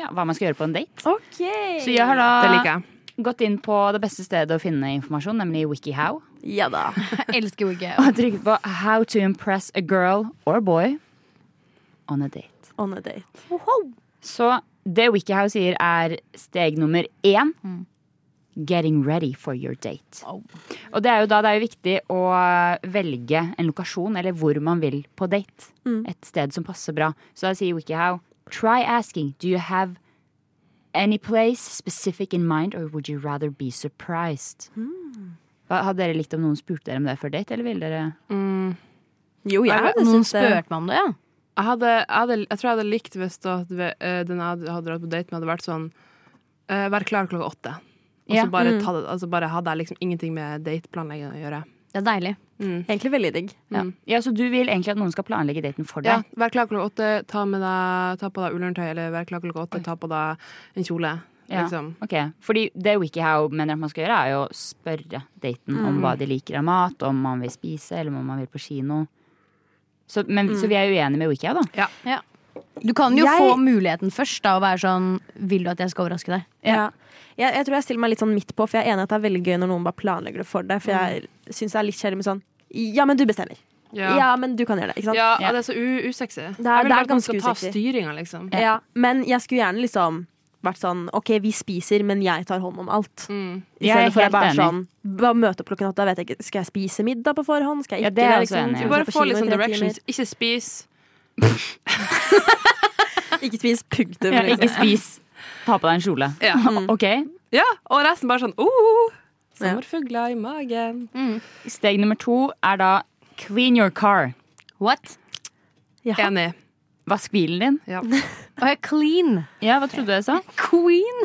F: ja, hva man skal gjøre på en date.
D: Ok
F: Så jeg har da
G: Det liker jeg.
F: gått inn på det beste stedet å finne informasjon, nemlig WikiHow.
D: Ja da.
E: Jeg elsker jo ikke
F: Og trykket på 'How to impress a girl or boy on a date'.
D: On a date.
F: Så det Wikihow sier, er steg nummer én. Getting ready for your date. Og det er jo da det er jo viktig å eh, velge en lokasjon eller hvor man vil på date. Et sted som passer bra. Så da sier Wikihow Try asking, do you have any place specific in mind, or would you rather be surprised? Hva, hadde dere likt om noen spurte dere om det før date, eller ville dere
D: Jo, jeg hadde
E: Noen
D: syntes det.
E: spurte meg om det, ja.
G: Jeg, hadde, jeg, hadde, jeg tror jeg hadde likt hvis da at vi- eh, den jeg hadde, hadde dratt på date med, hadde vært sånn eh, Vær klar klokka åtte. Og så
F: Ja.
G: bare,
D: Mm.
G: ta det, altså bare hadde jeg liksom ingenting med dateplanlegging å gjøre.
E: Det er deilig.
D: Egentlig veldig digg.
F: Ja, så du vil egentlig at noen skal planlegge daten for
G: Ja,
F: deg?
G: vær klar klokka åtte, ta, med deg, ta på deg ullundertøy, eller vær klar klokka åtte, ta på deg en kjole.
F: Ja.
G: Liksom.
F: Ok, fordi det WikiHow mener at man skal gjøre, er jo å spørre daten
G: Mm.
F: om hva de liker av mat, om man vil spise, eller om man vil på kino. Så, men, så
G: Mm.
F: vi er uenige med WikiHow, da.
E: Du kan jo
D: Jeg-
E: få muligheten først da, og være sånn Vil du at jeg skal overraske deg?
D: Ja. Jeg, jeg tror jeg stiller meg litt sånn midt på, for jeg er enig i at det er veldig gøy når noen bare planlegger det for deg. For jeg syns det er litt kjedelig med sånn Ja, men du bestemmer. Ja. men du kan gjøre det. Ikke sant?
G: Ja,
F: Ja.
G: og det er så u usexy. Jeg vil
D: det er
G: bare at man
D: ganske
G: skal ta
D: usexy.
G: styringa, liksom.
D: Ja, men jeg skulle gjerne liksom vært sånn OK, vi spiser, men jeg tar hånd om alt. I
G: Mm.
F: Jeg er
D: stedet for
F: helt
D: jeg bare er
F: enig.
D: sånn bare møte opp klokken åtte, jeg vet ikke, skal jeg spise middag på forhånd? Skal jeg
F: Ja,
D: ikke
F: det er jeg også
D: liksom,
F: enig i.
D: skal vi
G: Du bare
D: på
G: får
D: kino
G: litt
D: i
G: sånn
D: tre
G: directions. Ikke spis.
D: timer? Ikke spis punktum.
F: Ja,
D: Liksom.
F: ikke spis. Ta på deg en kjole.
G: Ja.
F: Ok,
G: ja, og resten bare sånn oh,
D: Ja.
G: Sommerfugler i magen.
F: Steg nummer to er da clean your car.
E: What?
D: Ja.
G: Enig.
F: Vask bilen din.
G: Ja.
E: Og jeg er clean.
F: Ja, hva trodde du jeg sa?
E: Queen.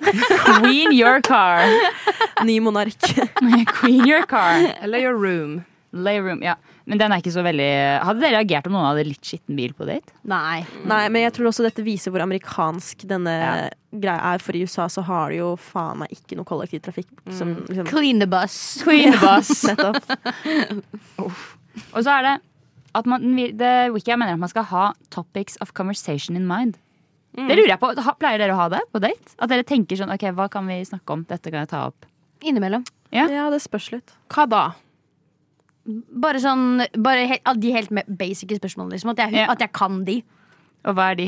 F: Clean your car.
D: Ny monark.
G: Mm.
F: Clean your car.
G: Eller your room.
F: Layroom, ja. Men den er ikke så veldig Hadde dere reagert om noen hadde litt skitten bil på date?
E: Nei.
D: Nei, men jeg tror også dette viser hvor amerikansk denne greia er. For i USA så har de jo faen meg ikke noe kollektivtrafikk
G: Mm.
D: som liksom,
E: Clean the bus.
F: Clean the bus.
D: Nettopp.
F: Og så er det at man, det, Wikia mener at man skal ha topics of conversation in mind. Det lurer jeg på, ha, Pleier dere å ha det på date? At dere tenker sånn, ok, hva kan vi snakke om? Dette kan jeg ta opp.
E: Innimellom.
D: Ja, det spørs litt.
G: Hva da?
E: Bare sånn bare he av de helt me- basic spørsmålene. Liksom, at, jeg,
F: Ja.
E: at jeg kan de.
F: Og hva er de?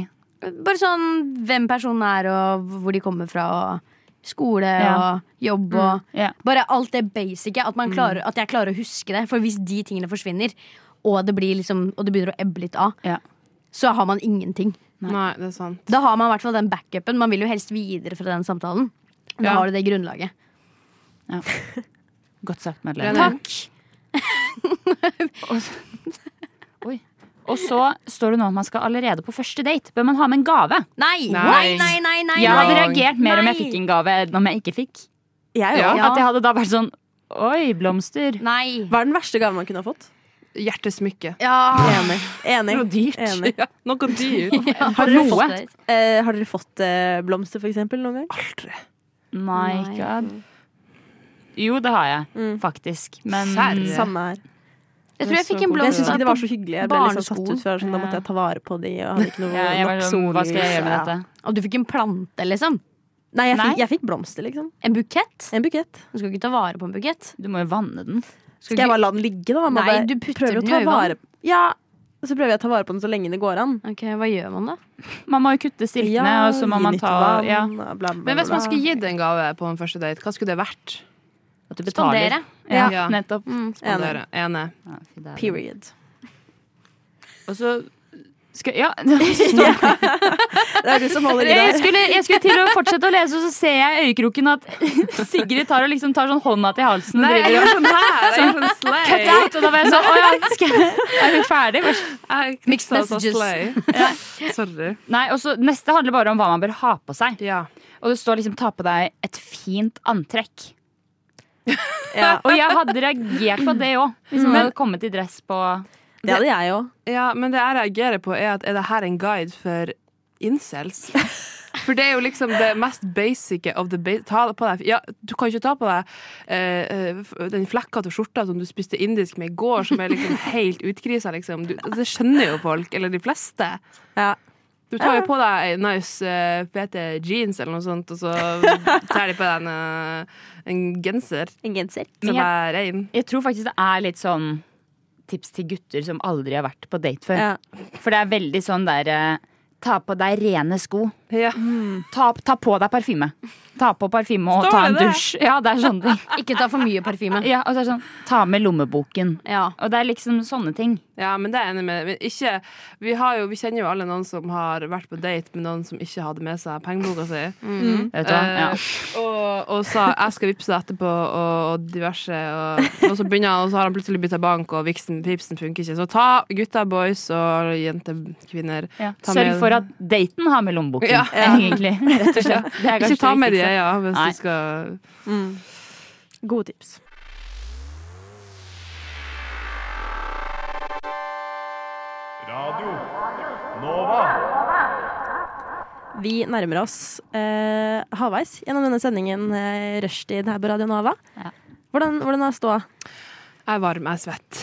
E: Bare sånn hvem personen er, og hvor de kommer fra, og skole
F: Ja. Mm.
E: og jobb og
F: Ja.
E: Bare alt det basice. At,
D: Mm.
E: man klarer, at jeg klarer å huske det. For hvis de tingene forsvinner, og det, blir liksom, og det begynner å ebbe litt av,
F: Ja.
E: så har man ingenting.
G: Nei, det er sant.
E: Da har man i hvert fall den backupen. Man vil jo helst videre fra den samtalen. Da
G: Ja.
E: har du det grunnlaget.
F: Godt sagt, Madeleine.
G: Enig.
F: Oi. Og så står det nå at man skal allerede på første date. Bør man ha med en gave?
E: Nei! Nei,
G: Nei.
E: nei, nei! nei,
F: Jeg hadde
E: nei.
F: reagert mer om jeg
E: Nei.
F: fikk en gave enn om jeg ikke fikk.
D: Jeg
G: Ja.
D: òg.
F: At jeg hadde da vært sånn Oi, blomster.
E: nei.
D: Hva er den verste gaven man kunne ha fått?
G: Hjertesmykke.
E: Ja.
F: Ah,
D: Enig. Enig. Enig.
G: Ja, noe dyrt.
F: Har dere fått det?
D: Eh, har dere fått eh, blomster, for eksempel, noen
F: Ah,
D: gang?
F: My
E: Nei.
F: god. Jo, det har jeg,
D: Mm.
F: faktisk. Men
G: Serr.
D: Samme her.
E: Jeg tror jeg fikk en
D: Jeg syns
E: blomst.
D: ikke det var så hyggelig. Jeg ble liksom satt
E: Barnesko.
D: ut fra, sånn, da måtte jeg ta vare på de. Og hadde ikke noe
F: ja, jeg var
D: nok
F: sånn, Hva skal jeg gjøre med
D: sollys, ja.
F: dette?
E: Og du fikk en plante, liksom.
D: Nei, jeg
F: Nei?
D: fikk, jeg fikk blomster, liksom.
E: En bukett.
D: En bukett.
E: Du skal ikke ta vare på en bukett.
F: Du må jo vanne den.
D: Skal jeg bare la den ligge, da? Man
E: Nei,
D: bare
E: du putter
D: prøver å
E: den i
D: ta
E: øynene.
D: vare Ja, og så prøver jeg å ta vare på den så lenge det går an.
E: Ok, Hva gjør man da?
F: Man må jo kutte stilkene, og så må
D: gi
F: man
D: litt
F: ta
D: vann,
F: ja,
D: bla, bla, bla,
G: Men hvis man
D: bla.
G: skulle gitt en gave på en første date, hva skulle det vært?
F: At du
E: Spandere. Mm.
F: betaler. Ja,
G: Ja.
F: nettopp.
G: Spandere. Ene.
F: Ja, fy dæven.
D: Period.
F: Og så skal, ja. Stopp.
D: Det er du som holder i
F: Jeg,
D: der.
F: skulle, jeg skulle til å fortsette å lese, og så ser jeg i øyekroken at Sigrid tar, og liksom tar sånn hånda til halsen og
G: Nei, jeg
F: driver
G: gjør sånn her. Jeg gjør sånn
F: og Cut
G: slay.
F: out! Og da var jeg sånn Å ja, skal jeg, er vi ferdig? Vær så-
G: Jeg
E: Mixed
G: knipset og
E: messages.
G: slay. Sorry.
F: Nei, og så Neste handler bare om hva man bør ha på seg.
G: Ja.
F: Og det står liksom 'ta på deg et fint antrekk'.
D: Ja,
F: Og jeg hadde reagert på det òg. Hvis man hadde kommet i dress på
D: det hadde jeg òg.
G: Ja, men det jeg reagerer på er at er det her en guide for incels? For det er jo liksom det mest basice of the basic. Ta det på deg. Ja, du kan ikke ta på deg eh, eh, f- den flekkete skjorta som du spiste indisk med i går, som er liksom helt utkrisa, liksom. Du, det skjønner jo folk, eller de fleste.
D: Ja.
G: Du tar jo på deg en nice eh, fete jeans eller noe sånt, og så tar de på deg en, eh, en genser
D: En genser.
G: som
F: Men
G: er rein.
F: Jeg tror faktisk det er litt sånn tips til gutter som aldri har vært på date før.
D: Ja.
F: For det er veldig sånn der eh, Ta på deg rene sko.
G: Ja.
F: Ta, ta på deg parfyme. Ta på parfyme og
G: Står
F: ta en
G: det det?
F: dusj. Ja, det er sånne ting.
E: Ikke ta for mye parfyme.
F: Ja, og så er det sånn, ta med lommeboken.
E: Ja.
F: Og det er liksom sånne ting.
G: ja, men det er jeg enig med. Men ikke, vi, har jo, vi kjenner jo alle noen som har vært på date med noen som ikke hadde med seg pengeboka si.
F: Vet du hva? Ja.
G: Eh, og, og sa 'jeg skal vippse deg etterpå', og, og diverse. Og, og, så begynner, han- og så har han plutselig bytta bank, og viksen, pipsen funker ikke. Så ta gutta, boys og jenter, kvinner.
F: Ja.
G: Ta
F: Sørg
G: med-
F: for at daten har med lommeboken,
G: Ja.
F: egentlig. Rett og slett. Det er kanskje
G: Ikke ta
F: det
G: med de
F: viktigste.
G: ja, hvis
F: Nei.
G: du skal
D: Gode tips.
A: Radio Nova.
D: Vi nærmer oss eh, halvveis gjennom denne sendingen eh, Rushtid her på Radio Nova.
F: Ja.
D: Hvordan, hvordan er ståa?
G: Jeg er varm, jeg er svett.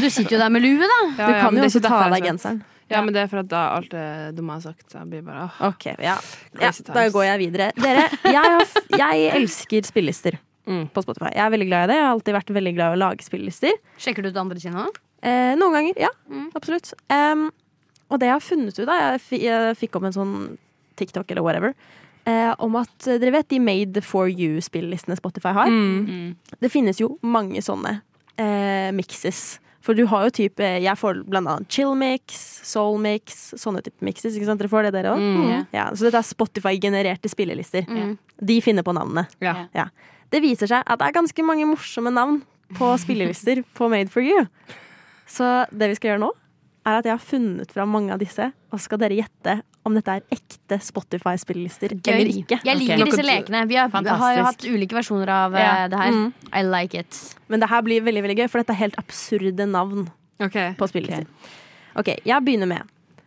E: Du sitter jo der med lue, da.
G: Ja,
D: Du
G: ja,
D: kan
G: men
D: jo
G: det er
D: også
G: ikke
D: ta
G: derfor
D: av
G: jeg
D: deg
G: er svett.
D: genseren.
G: Ja, men det er for at da alt det dumme jeg har sagt, så jeg blir bare åh.
D: Ok, ja. ja
G: Crazy times.
D: da går jeg videre. Dere, jeg, har, f- jeg elsker spillelister
G: Mm.
D: på Spotify. Jeg er veldig glad i det. Jeg har alltid vært veldig glad i å lage spillelister.
E: Sjekker du ut andre sine òg?
D: Eh, noen ganger, ja. Absolutt. Em, og det jeg har funnet ut av Jeg, fi- jeg fikk opp en sånn TikTok eller whatever. Eh, om at eh, dere vet de Made for you-spillelistene Spotify har?
G: Mm,
D: Det finnes jo mange sånne eh, mixes. For du har jo type Jeg får blant annet chill mix, soul mix, sånne type mixes. Ikke sant? Dere får det, dere òg? Ja, så dette er Spotify-genererte spillelister. De finner på navnene.
G: Ja.
D: Ja. Det viser seg at det er ganske mange morsomme navn på spillelister på Made for you. Så det vi skal gjøre nå, er at jeg har funnet fram mange av disse, og skal dere gjette om dette er ekte Spotify-spillelister eller ikke.
E: Jeg liker
F: Ok.
E: disse lekene. Vi har,
F: Fantastisk.
E: har jo hatt ulike versjoner av eh,
F: Ja.
E: det her. I like it.
D: Men det her blir veldig veldig gøy, for dette er helt absurde navn
G: OK.
D: på spillelister. Ok, jeg begynner med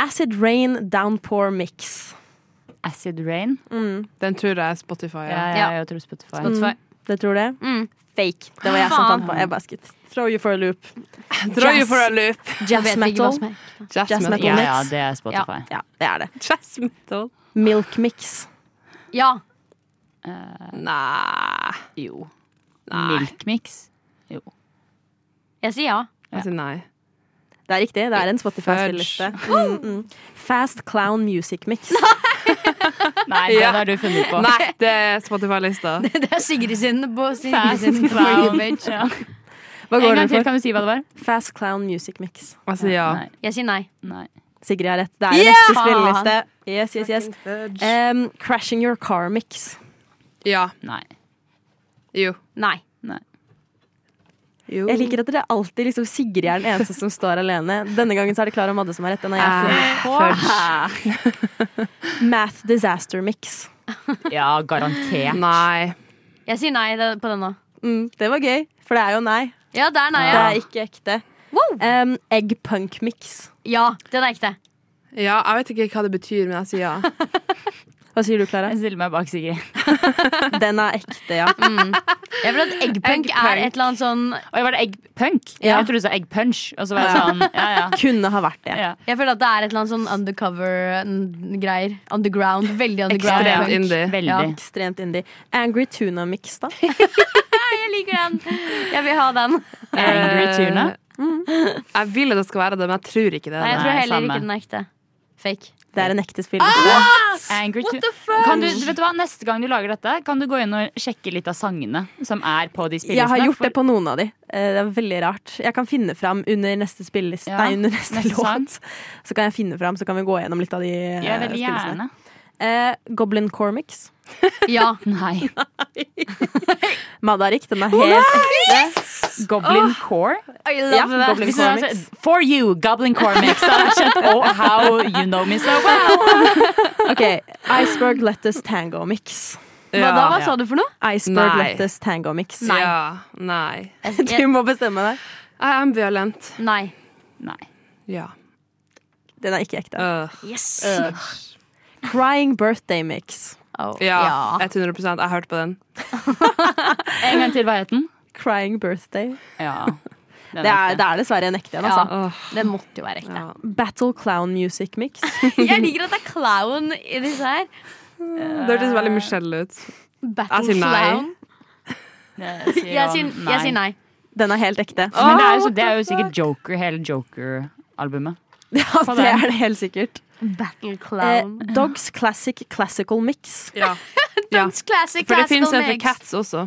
D: Acid Rain Downpour Mix.
F: sånn Acid Rain.
G: Den tror jeg er Spotify.
F: Ja,
G: Ja.
F: ja,
E: Ja.
F: jeg tror Spotify.
D: Det tror du?
E: Mm.
D: Fake. Det var jeg som fant på. Jeg bare skutt. Throw you for a loop.
G: Dra jo for a loop.
E: Jeg
D: Jazz
E: vet ikke hva
D: metal.
E: som er-
G: Jazz
D: Jazz
G: metal.
D: metal.
F: Ja,
D: Mix.
F: ja, det er Spotify.
D: Ja, det er det.
G: Jazz metal.
D: Milk Mix.
E: Ja.
G: Nei.
F: Jo. Milk Mix. Jo.
E: Jeg sier ja.
G: Jeg sier Altså, nei.
D: Det er riktig. Det er en Spotify-spilleliste. Mm, mm. Fast Clown Music Mix.
F: Nei, det
G: Ja.
F: har du funnet på.
G: Nei, det er Spotify-lista.
E: Det er Sigrid sin. På Sigrid
F: Fast
E: sin
F: clown.
E: page.
F: Ja.
D: Hva
F: En
D: går
F: gang
D: den
F: til,
D: for?
F: kan du si hva det var?
D: Fast Clown Music Mix.
G: Jeg sier Altså, ja.
F: Nei.
E: Jeg sier nei.
F: Nei.
D: Sigrid har rett. Det er en ekte spilleliste. Yes, yes, yes.
G: Eh.
D: Em, crashing Your Car Mix.
G: Ja.
F: Nei.
G: Jo.
E: Nei.
G: jo.
D: Jeg liker at dere alltid liksom Sigrid er den eneste som står alene. Denne gangen så er det Klara Madde som har rett. Den har jeg funnet
F: Fudge.
D: på. Math Disaster Mix.
F: Ja, garantert.
G: Nei.
E: Jeg sier nei det- på den nå.
D: Mm, det var gøy, for det er jo nei.
E: Ja, der nei.
D: Det
E: Ja.
D: er ikke ekte. Em, egg Punk Mix.
E: ja, den er ekte.
G: Ja, jeg vet ikke hva det betyr, men jeg sier ja.
D: Hva sier du, Klara?
F: Jeg stiller meg bak Sigrid.
D: Den er ekte, ja.
E: Jeg føler at eggpunk er et eller annet sånn
F: Oi, var det eggpunk?
D: Ja.
F: Jeg trodde du sa eggpunch. Og så var jeg sånn, ja, ja.
D: Kunne ha vært det.
F: ja.
E: Jeg føler at det er et eller annet sånn undercover-greier. Underground. Veldig underground.
G: Ekstremt
E: punk.
G: indie.
F: Veldig.
E: Ja.
D: Ekstremt indie. Angry Tuna Mix, da.
E: Jeg liker den. Jeg vil ha den.
F: Angry tuna.
G: Jeg vil at det skal være det, men jeg tror ikke det.
E: Nei, jeg tror
F: Nei,
E: heller
F: samme.
E: ikke den er ekte. Fake.
D: Det er en ekte spilleliste.
F: Ah!
D: Eh,
F: Angry tuna. Kan du, vet du hva, Neste gang du lager dette, kan du gå inn og sjekke litt av sangene som er på de spillelistene.
D: Jeg har gjort det
F: For-
D: på noen av de. Eh, Det er veldig rart. Jeg kan finne fram under neste spilleliste
F: Ja,
D: Nei, under neste,
F: neste
D: låt.
F: sang.
D: Så kan jeg finne fram, så kan vi gå gjennom litt av de eh,
F: Gjør veldig
D: spillelistene.
F: gjerne.
D: Eh, Goblin Cormix.
E: Ja.
F: Nei.
D: Madarik, den er helt ekte.
F: Goblin Core?
E: I
D: Ja,
E: love that.
D: Goblin
F: Hvis du hadde
D: Cormix.
F: sagt, For you, Goblin Core Mix. Da hadde jeg skjønt oh, how you know me so well.
D: Ok, Iceberg Lettuce Tango Mix.
E: Hva da? sånn, Hva
G: Ja.
E: sa du for noe?
D: Iceberg
G: Nei.
D: Lettuce Tango Mix.
G: Ja. Nei.
D: Du må bestemme deg.
G: Jeg er ambivalent.
E: Nei.
F: Nei.
G: Ja.
D: Den er ikke ekte.
G: Øh.
E: Yes.
D: Crying Birthday Mix.
E: Oh,
G: ja.
E: ja.
G: 100 Jeg hørte på den.
F: En gang til, hva het den?
D: Crying Birthday.
F: Ja. Den
D: Det er,
F: ekte.
D: det er dessverre en ekte en,
E: Ja.
D: altså.
E: Den måtte jo være ekte.
D: Battle Clown Music Mix.
E: Jeg liker at det er clown i disse her.
G: Det hørtes veldig Michelle ut.
E: Battle
G: Jeg sier nei.
E: clown.
F: Jeg Eh, sier,
E: Jeg sier,
F: nei.
E: jeg sier nei.
D: Den er helt ekte.
F: Men det er, jo, så- det er jo sikkert Joker, hele Joker-albumet.
D: Ja,
F: På
D: det
F: den.
D: er det helt sikkert.
E: Battle
D: Eh,
E: clown.
D: Dogs Classic Classical Mix.
G: Ja. ja.
E: Classic
G: For det
E: classical
G: fins en sånn for
E: mix.
G: cats også.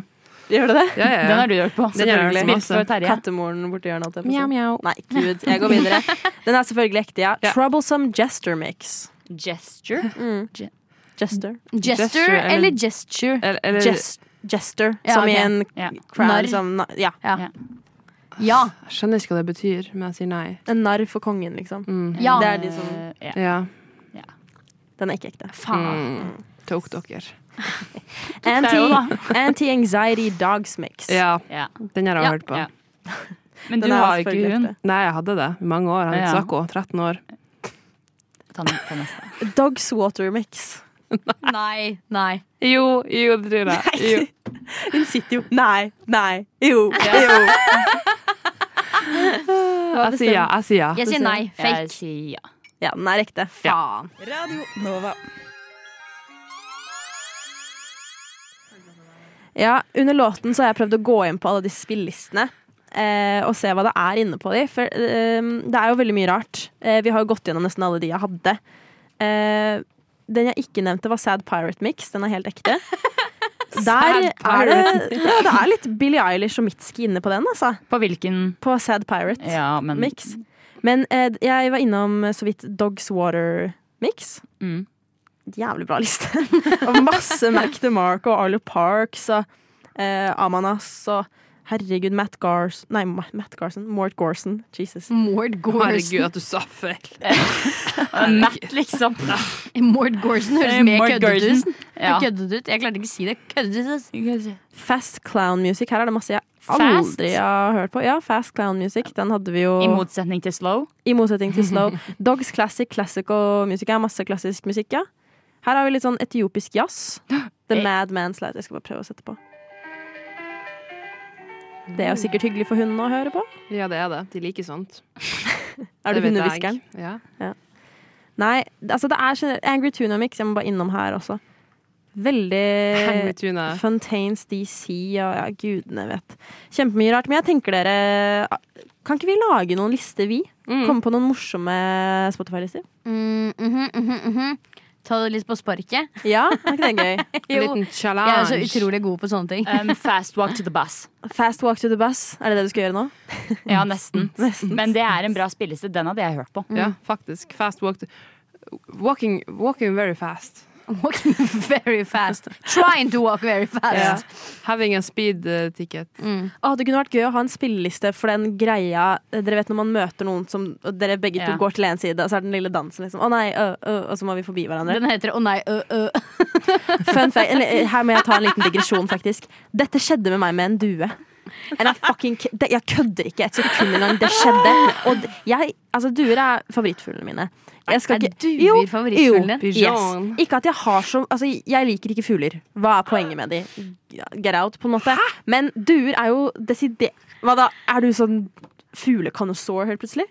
D: Gjør det det?
G: Ja, ja,
F: Den
G: ja.
F: har du hørt på.
G: Den har jeg hørt
F: selvfølgelig.
G: på
F: Spilt for Terje.
D: Kattemoren borti hjørnet. holdt jeg på å si.
E: Mjau, mjau.
D: Nei, gud. Jeg går videre. Den er selvfølgelig ekte, ja.
G: Ja.
D: Troublesome Jester Mix. Mm.
F: Gesture.
D: Jester.
E: Jester
G: Gesture, eller-
E: eller gesture.
G: Eller, eller
D: Jest, jester,
E: Ja,
D: som
E: ok.
D: i en
F: Ja.
D: crown
E: Narr.
D: som na- Ja.
E: Ja. Ja.
G: Jeg skjønner ikke hva det betyr, men jeg sier nei.
D: En narr for kongen, liksom.
E: ja.
D: Det er de som
F: Eh, ja.
G: Ja.
D: Den er ikke ekte.
E: Faen.
G: Tok dere.
F: deg jo, da.
D: Anti- Anti-anxiety dogs mix.
G: Ja,
F: Ja.
G: den har jeg
E: Ja.
G: hørt på.
F: Ja. Men
D: Den
F: du
D: er
F: har jo ikke
D: selvfølgelig
F: hund.
D: ekte.
G: Nei, jeg hadde det i mange år. Han het
F: Ja.
G: Sako, 13 år.
F: Ta den- ta neste.
D: Dogs water mix.
E: Nei. Nei.
G: Jo, jo, det tror jeg. Jo.
D: Hun sitter jo Nei, nei, jo, jo.
G: Jeg sier ja. Jeg sier ja.
E: Jeg sier nei.
F: Jeg
E: Fake.
F: sier ja.
D: Ja, den er ekte.
E: Faen.
D: Ja, under låten så har jeg prøvd å gå inn på alle disse spillelistene. Eh, og se hva det er inne på de. For eh, det er jo veldig mye rart. Eh, vi har jo gått gjennom nesten alle de jeg hadde. Eh, den jeg ikke nevnte, var Sad Pirate Mix. Den er helt ekte. Der er det, ja, det er litt Billie Eilish og Mitski inne på den, altså.
F: På hvilken
D: På Sad Pirate
F: Ja, men
D: Mix. Men eh, jeg var innom eh, så vidt Dogs Water Mix.
F: Mm.
D: Jævlig bra liste. og masse Mac DeMarco og Arlo Parks og eh, Amanas og herregud, Matt Garson Nei, Ma- Matt Garson. Mort Gorson. Jesus.
E: Mord
G: Herregud,
E: Gorson.
G: at du sa feil.
F: Matt, liksom.
E: Mord Gorson høres mer
F: Mort
E: køddet ut.
F: Gordon. Ja.
E: Det er Køddet ut. Jeg klarte ikke å si det. Køddet ut. ass.
D: Fast Clown Music. Her er det masse jeg
F: Fast?
D: aldri har hørt på. Ja, Fast Clown Music. Den hadde vi jo
F: I motsetning til slow.
D: i motsetning til slow. Dogs Classic, classical music. Jeg har masse klassisk musikk, ja. Her har vi litt sånn etiopisk jazz. The
F: Eh.
D: Mad Man's Light. Jeg skal bare prøve å sette på. Det er jo sikkert hyggelig for hunden å høre på.
G: Ja, det er det. De liker sånt.
D: Er du
G: Det vet jeg.
D: hundehviskeren?
G: Ja.
D: Nei, altså det er generelt Angry Tuna Mix, jeg må bare innom her også.
G: Angry
D: Veldig
G: Tuna.
D: Fontaines DC og ja, gudene vet. Kjempemye rart. Men jeg tenker dere ah, Kan ikke vi lage noen lister, vi?
G: Mm.
D: Komme på noen morsomme Spotify-lister?
E: Mm, mhm, mhm, mhm. Ta det litt på sparket.
D: Ja, er ikke det gøy?
G: En
E: Jo.
G: liten
E: Jeg er så
G: challenge.
E: utrolig god på sånne ting.
F: Um, fast walk to the bus.
D: Fast Walk to the Bus, er det det du skal gjøre nå?
F: Ja, nesten.
D: Nesten.
F: Men det er en bra spilleliste. Den hadde jeg hørt på.
G: Ja, faktisk. Fast walk to Walking, walking very fast.
E: Walking very fast. Trying to walk very fast.
G: Having a speed eh, ticket.
D: Å, det kunne vært gøy å ha en spilleliste for den greia Dere vet når man møter noen som og Dere begge to
F: Ja.
D: går til en side, og så er det den lille dansen liksom. Å nei, øh, øh, og så må vi forbi hverandre.
E: Den heter Å nei, ø, ø.
D: Fun fact, eller, eh, her må jeg ta en liten digresjon, faktisk. Dette skjedde med meg med en due. And I fucking, ki- det, jeg kødder ikke et sekund engang. Det skjedde. Og d- jeg, altså, duer er favorittfuglene mine. Jeg skal
E: Er
D: ikke-
E: duer
D: Jo,
E: favorittfuglen din?
D: Jo,
G: Pigeon.
D: yes. Ikke at jeg har så Altså, jeg liker ikke fugler. Hva er poenget med de? Get out, på en måte. Men duer er jo desider... Hva da? Er du sånn fuglekonnoisseur helt plutselig?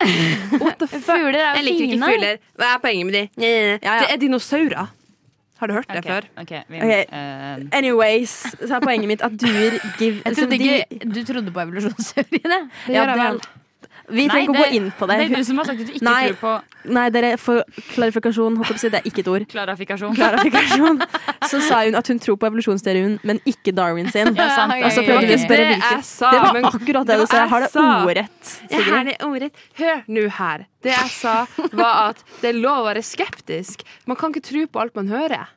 E: Fugler er jo fine.
G: Hva er poenget med de?
D: Ja, ja.
G: Det er dinosaurer. Har du hørt det før?
F: Ok, vi,
D: Ok.
F: eh,
D: Anyways, så er poenget mitt at duer give
E: Jeg trodde ikke du trodde på evolusjonsteoriene.
D: ja,
G: gjør jeg vel.
D: det, Vi trenger ikke å gå inn på det.
F: Det er du som har sagt at du ikke
D: Nei.
F: tror på
D: Nei, dere, for klarifikasjon, holdt jeg på å si, det er ikke et ord.
F: klarifikasjon.
D: Klarifikasjon. Så sa hun at hun tror på evolusjonsteorien, men ikke Darwin sin.
F: Ja, sant.
E: Ja,
F: Og så
E: ja, ja,
F: prøvde
E: ja.
F: vi å spørre
G: Det
D: hvilken.
G: jeg sa,
D: Det var
G: men-
D: akkurat det du
G: var
D: sa. Jeg har
G: jeg
D: det
G: sa.
D: ordrett.
G: Jeg har det omrett. Hør nå her. Det jeg sa, var at det er lov å være skeptisk. Man kan ikke tro på alt man hører.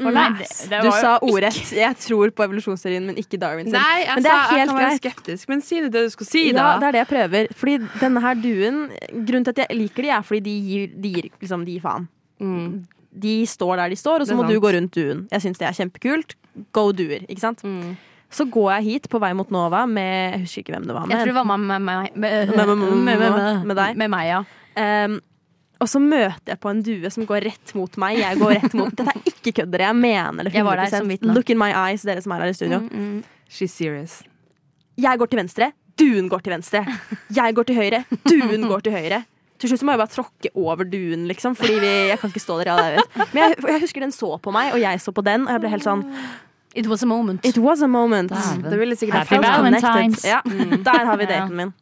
F: Nei, det, det
D: Mm. Du
F: var jo
D: sa ordrett. Jeg tror på evolusjonsteorien, men ikke Darwin sin.
G: Nei, jeg
D: men det er
G: sa jeg
D: helt
G: kan være
D: greit.
G: skeptisk. Men si det det du skal si, da.
D: Ja, det er det jeg prøver. Fordi denne her duen Grunnen til at jeg liker de, er fordi de gir, de gir liksom, de gir faen.
G: Mm.
D: De står der de står, og
G: Det
D: så
G: er
D: må du
G: sant.
D: gå rundt duen. Jeg syns det er kjempekult. Go duer, ikke sant? Så går jeg hit på vei mot Nova med Jeg husker ikke hvem det var med.
E: Jeg tror det var med meg. Med,
D: Med- med- med- med- med deg.
E: Med meg, ja.
D: Um, og så møter jeg på en due som går rett mot meg. Jeg går rett mot Dette er ikke kødder, jeg mener det
E: Jeg var der som
D: 100
E: vitne. Mm.
D: Look in my eyes, dere som er her i studio.
G: She's serious.
D: Jeg går til venstre, duen går til venstre. Jeg går til høyre, duen går til høyre. Til slutt så må jeg bare tråkke over duen, liksom, fordi vi, jeg kan ikke stå der. Ja, jeg vet. Men jeg, jeg husker den så på meg, og jeg så på den, og jeg ble helt sånn
E: It was a moment.
D: It was a moment.
F: Dæven.
G: Det ville sikkert
D: I felt
E: Mm.
F: Happy Valentine's.
D: connected. Ja, der har vi daten min.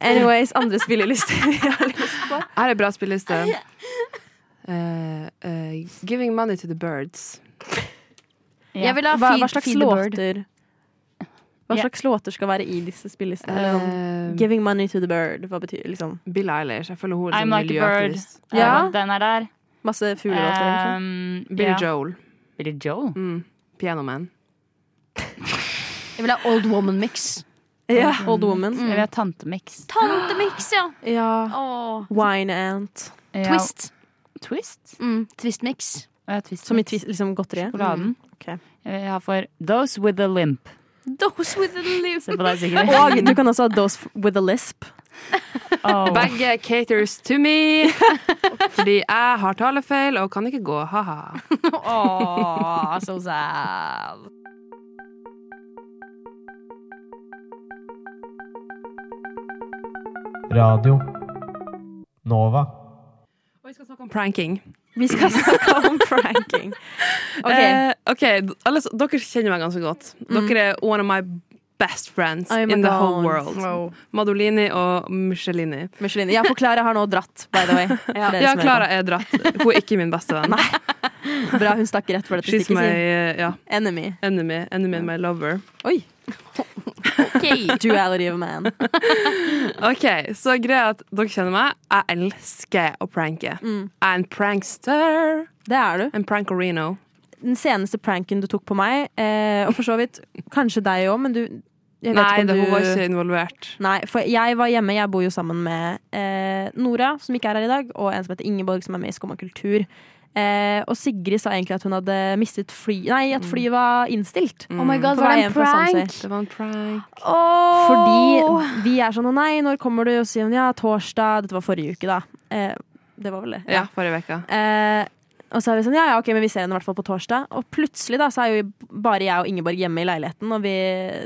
D: Anyways, andre spillelister vi har lyst på.
G: Jeg har en bra spilleliste. Eh, eh, giving money to the birds.
F: Ja.
E: Jeg vil ha
D: Hva,
E: feed,
D: hva slags
E: feed the bird.
D: låter Hva
F: Ja.
D: slags låter skal være i disse spillelistene? Eller sånn,
G: Eh,
D: Giving money to the bird, hva betyr liksom
G: Bill Eilish. Jeg føler hun er
F: I'm
G: sånn
F: like a bird.
G: miljøaktivist.
D: Ja.
F: Den er der.
D: Masse fuglelåter, egentlig.
F: Um,
G: Billy
F: ja.
G: Joel.
F: Billy Joel?
G: Mm. Pianoman.
E: Jeg vil ha Old Woman Mix.
G: Eh,
D: Ja.
G: mm.
D: Old Woman.
F: Jeg vil ha Tantemix.
E: Tantemix, ja!
D: Ja.
E: Åh.
D: Wine Ant.
F: Ja.
E: Twist.
F: Twist?
E: Mm, Twist-mix.
F: Ja, twist
D: Som i tvis, liksom godteriet.
F: Sjokoladen.
D: Ok.
F: Jeg har for Those with a limp.
E: Those with the lips.
F: Se på deg, Sigrid.
D: Mm. Og du kan også ha Those f- with a Lisp.
F: Oh.
G: Begge caters to me! Fordi jeg har talefeil og kan ikke gå, ha-ha.
E: Åh, so sad.
B: Radio Nova.
G: Og vi skal snakke om pranking.
D: Vi skal snakke om pranking.
G: Eh, ok, d- alle, s- Dere kjenner meg ganske godt. Dere er one of my best friends
D: Oh my
G: in the
D: Mm. God.
G: whole world. Madolini og Michelini.
D: Michelin. Ja, for Klara har nå dratt, by the way. For dere
G: Ja,
D: som hører
G: Klara er dratt. Hun er ikke min beste venn.
D: på. Bra, hun stakk rett for dette
G: She's
D: stikket
G: my
D: sitt.
G: eh, ja,
D: Enemy.
G: enemy, enemy and my lover.
D: Oi.
E: Ok.
D: Duality of man.
G: Ok, Så greia er at dere kjenner meg. Jeg elsker å pranke.
D: Mm.
G: Jeg er en prankster.
D: Det er du.
G: En prankerino.
D: Den seneste pranken du tok på meg, eh, og for så vidt kanskje deg òg, men du jeg vet
G: Nei,
D: ikke om
G: det,
D: du...
G: hun var ikke involvert.
D: Nei, for jeg var hjemme. Jeg bor jo sammen med eh, Nora, som ikke er her i dag, og en som heter Ingeborg, som er med i Skum og kultur. Eh, og Sigrid sa egentlig at hun hadde mistet fly Nei, at flyet var innstilt.
E: Oh my god,
D: På
E: var
D: vei
E: det
D: hjem
E: en
D: fra
E: prank?
D: Sandsøy.
G: Det var en prank.
E: Åh.
D: Fordi vi er sånn 'Å nei, når kommer du?' Og sier hun 'ja, torsdag'. Dette var forrige uke, da. Eh, det var vel det.
G: Ja, forrige uke.
D: Eh, og så er vi sånn, ja, ja, ok, men vi ser henne i hvert fall på torsdag. Og plutselig da, så er jo bare jeg og Ingeborg hjemme i leiligheten, og vi,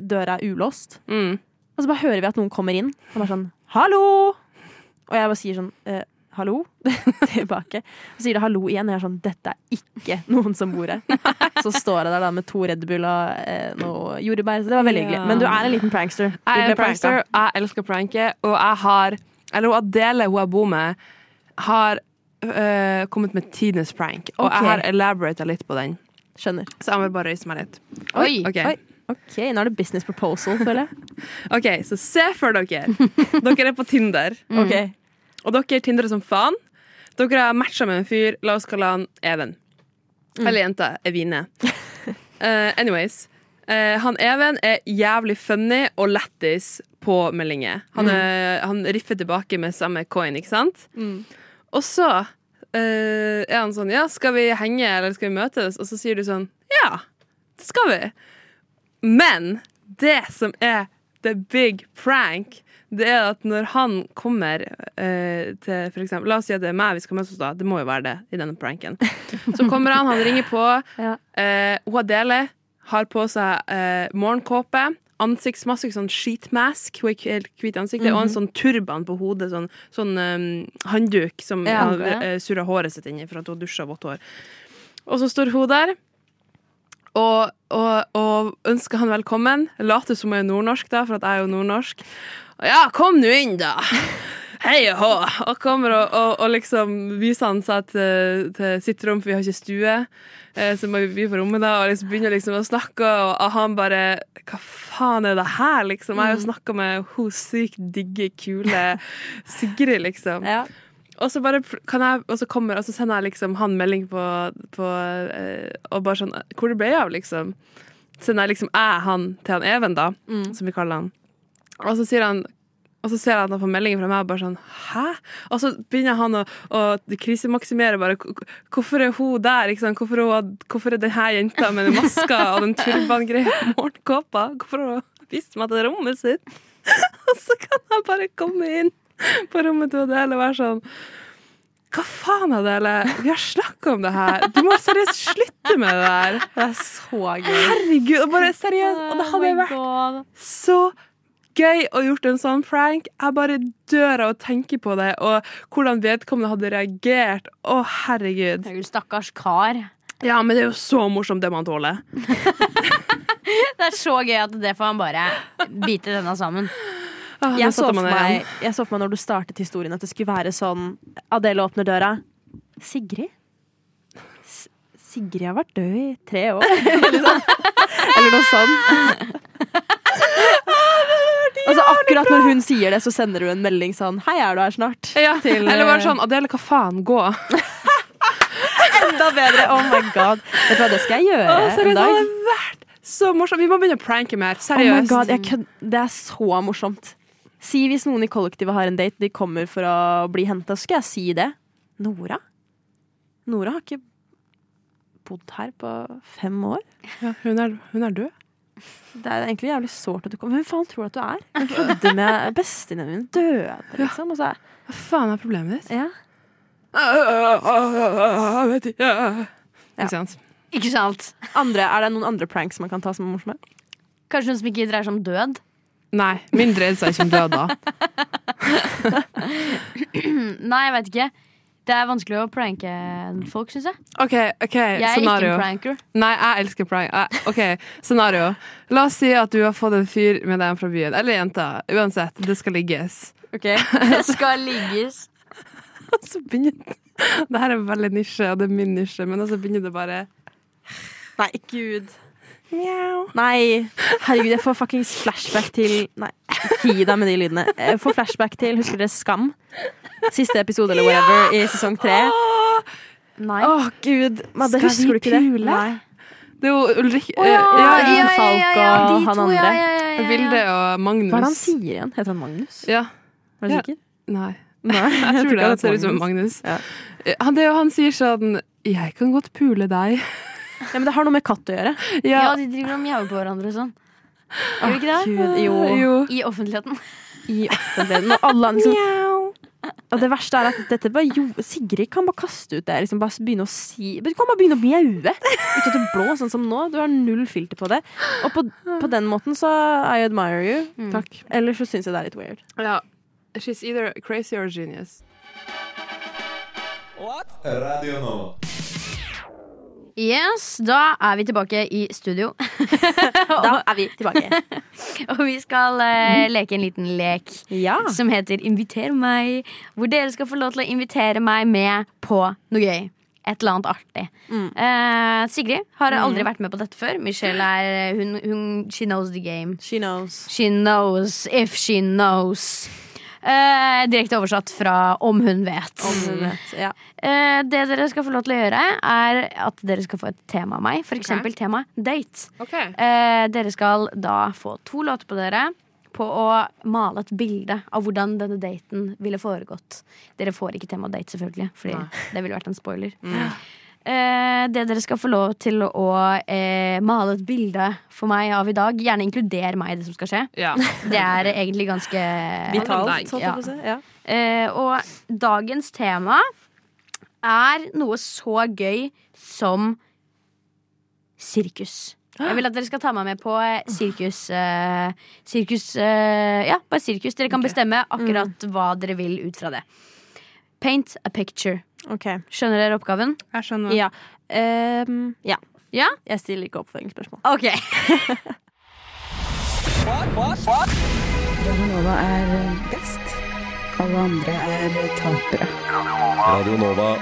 D: døra er ulåst.
G: Mm.
D: Og så bare hører vi at noen kommer inn, og bare sånn, hallo! Og jeg bare sier sånn, eh, hallo? Tilbake. Og så sier det hallo igjen, og jeg er sånn, dette er ikke noen som bor her. Så står jeg der da med to Red Bull og eh, noe jordbær, så det var veldig hyggelig. Men du er en liten prankster. Du
G: Jeg
D: ble
G: er en prankster,
D: pranka.
G: jeg elsker å pranke, og jeg har Eller Adele, hun jeg bor med, har øh, kommet med tidenes prank. Og
D: Ok.
G: jeg har elaborata litt på den,
D: Skjønner.
G: så jeg må bare røyse meg litt.
E: Oi.
G: Ok,
D: Oi. Ok, nå er det business proposal, føler jeg.
G: Ok, Så se for dere. Dere er på Tinder,
D: Ok.
G: og dere tindrer som faen. Dere har matcha med en fyr. La oss kalle han Even. Eller jenta Evine. Eh, anyways. eh, han Even er jævlig funny og lættis på meldinger. Han, er, han riffer tilbake med samme coin, ikke sant? Og så eh, er han sånn Ja, skal vi henge, eller skal vi møtes? Og så sier du sånn Ja, det skal vi. Men det som er the big prank, det er at når han kommer eh, til for eksempel, La oss si at det er meg vi skal møtes hos, da. Det må jo være det i denne pranken. Så kommer han, han ringer på.
D: Ja.
G: Eh, hun Adele har på seg eh, morgenkåpe, ansiktsmaske, sånn sheetmask, hun er ikke helt hvit i ansiktet, og en
D: Mhm.
G: sånn turban på hodet, sånn, sånn um, handduk som
D: Ja.
G: har eh, surra håret sitt inni for at hun dusja vått hår. Og så står hun der og, og, og ønsker han velkommen. Later som hun er nordnorsk, da, for at jeg er jo nordnorsk. Og Ja, kom nå inn, da! Hei og hå! Og kommer og, og, og liksom viser han seg til, til sitt rom, for vi har ikke stue. Eh, Så må vi by på rommet, da, og liksom begynner liksom å snakke, og, og han bare Hva faen er det her, liksom? Jeg har jo snakka med hun sykt digge, kule Sigrid, liksom.
D: Ja.
G: Og så bare pl- kan jeg, og så kommer, og så sender jeg liksom han melding på, på eh, Og bare sånn Hvor det ble av, liksom? Sender jeg liksom jeg han til han Even, da, som vi kaller han. Og så sier han og så ser jeg at han får meldinger fra meg, og bare sånn Hæ? Og så begynner han å, å krisemaksimere. bare, "Hvor- Hvorfor er hun der? Ikke sant? Hvorfor, er hun, hvorfor er den her jenta med den maska og den turbangreia og morgenkåpa? Hvorfor har hun vist meg til rommet sitt? Og så kan jeg bare komme inn på rommet til Adele og være sånn Hva faen, Adele? Vi har snakka om det her. Du må seriøst slutte med det der.
D: Det er så gøy. Oh
G: Herregud. Og bare seriøst. Og
E: Oh
G: det hadde vært så gøy å gjort en sånn prank. Jeg bare dør av å tenke på det, og hvordan vedkommende hadde reagert. Å, herregud.
E: Herregud, Stakkars kar.
G: Ja, men det er jo så morsomt, det man tåler.
E: Det er så gøy at det får han bare bite denne sammen.
D: jeg,
G: Ah, nå
D: så
G: satte
D: for
G: man det
D: meg, jeg så for meg når du startet historien, at det skulle være sånn Adele åpner døra. Sigrid? S Sigrid har vært død i tre år. Eller sånn. Eller noe sånt. Altså Akkurat når hun sier det, så sender du en melding sånn Hei, er du her snart?
G: Ja,
D: Til,
G: eller bare
D: eh,
G: sånn Adele, hva faen, gå.
D: Enda bedre! Oh my god. Vet du hva, det skal jeg gjøre
G: Å, seriøst,
D: en
G: det
D: dag.
G: hadde vært så morsomt. Vi må begynne å pranke mer.
D: Oh my
G: Seriøst.
D: god, jeg kødd- Det er så morsomt. Si hvis noen i kollektivet har en date, de kommer for å bli henta, så skal jeg si det. Nora? Nora har ikke bodd her på fem år.
G: ja, hun, er, hun er død.
D: Det er egentlig jævlig sårt at du kommer. Hvem faen tror du at du er? Hun trodde med bestevenninnen min døde, liksom. Og så er
G: Hva faen er problemet ditt?
D: ja.
G: Jeg vet ikke. Ikke sant?
E: Ikke sant?
D: andre, Er det noen andre pranks man kan ta som er morsomme?
E: Kanskje hun som ikke dreier seg om død?
G: Nei, min dreide seg ikke om død da.
E: Nei, jeg vet ikke. Det er vanskelig å pranke folk, syns jeg.
G: OK, ok,
E: Jeg er ikke
G: scenario.
E: en pranker.
G: Nei, jeg elsker prank. Jeg- OK, scenario. La oss si at du har fått en fyr med deg fra byen. Eller jenta. Uansett, det skal ligges.
E: Det skal ligges.
G: Og så begynner Det her er veldig nisje, og det er min nisje, men så begynner det bare
D: Nei, gud. Nei, herregud, jeg får fuckings flashback til Nei, gi deg med de lydene. Jeg får flashback til, husker dere Skam? Siste episode eller whatever i sesong tre.
E: Nei.
D: Å, gud. Madde,
G: Skal
D: husker
G: vi
D: du ikke det?
G: pule?
D: Nei.
G: Det er jo Ulrik
E: Å, ja,
D: ja,
G: ja,
D: ja,
E: ja, ja, ja,
D: Falk og
E: de
D: han
E: to,
D: andre.
E: ja, ja, ja, ja, ja.
G: Vilde og Magnus.
D: Hva er det han sier igjen? Heter han Magnus?
G: Ja.
D: Er du
G: Ja.
D: sikker?
G: Nei,
D: Nei,
G: jeg tror det.
D: ikke
G: Han ser ut som
D: Magnus.
G: Magnus.
D: Ja.
G: Eh, Han, det er jo han sier sånn Jeg kan godt pule deg.
D: Ja, men det har noe med katt å gjøre.
E: Ja, de driver og mjauer på hverandre og sånn. Gjør de ikke det?
D: Gud, jo.
G: jo.
E: I offentligheten.
D: i offentligheten. Og alle andre liksom, og det verste er at dette bare jo, Sigrid kan bare kaste ut det. Liksom, bare begynne å si Du kan bare begynne å mjaue ut av det blå, sånn som nå. Du har null filter på det. Og på, på den måten så I admire you.
G: Takk.
D: Ellers så syns jeg det er litt weird.
G: Ja. She's either crazy or genius.
E: Yes, da er vi tilbake i studio.
D: Da er vi tilbake.
E: Og vi skal eh, leke en liten lek
D: Ja.
E: som heter Inviter meg. Hvor dere skal få lov til å invitere meg med på noe gøy. Et eller annet artig. Eh, Sigrid har aldri vært med på dette før. Michelle er eh, hun, hun, She knows the game.
D: She knows.
E: She knows if she knows. Eh, direkte oversatt fra om hun vet.
D: Om hun vet. Ja.
E: Eh, det dere skal få lov til å gjøre, er at dere skal få et tema av meg. For eksempel tema date.
G: Okay.
E: Eh, dere skal da få to låter på dere på å male et bilde av hvordan denne daten ville foregått. Dere får ikke tema date, selvfølgelig, Fordi det ville vært en spoiler. Eh, det dere skal få lov til å eh, male et bilde for meg av i dag. Gjerne inkluder meg i det som skal skje.
G: Ja.
E: Det er egentlig ganske
G: deg.
D: Vitalt. Sånn,
E: Ja.
D: ja. Ja.
E: Eh, og dagens tema er noe så gøy som sirkus. Jeg vil at dere skal ta meg med på eh, sirkus. eh, sirkus eh, ja, bare sirkus. Dere kan bestemme akkurat hva dere vil ut fra det. Paint a picture.
D: Ok.
E: Skjønner dere oppgaven?
G: Jeg skjønner.
D: Ja. Ehm, ja.
E: Ja?
D: Jeg stiller ikke oppfølgingsspørsmål.
E: Ok.
H: Radionova er best. Alle andre er tapere.
A: Radio Nova.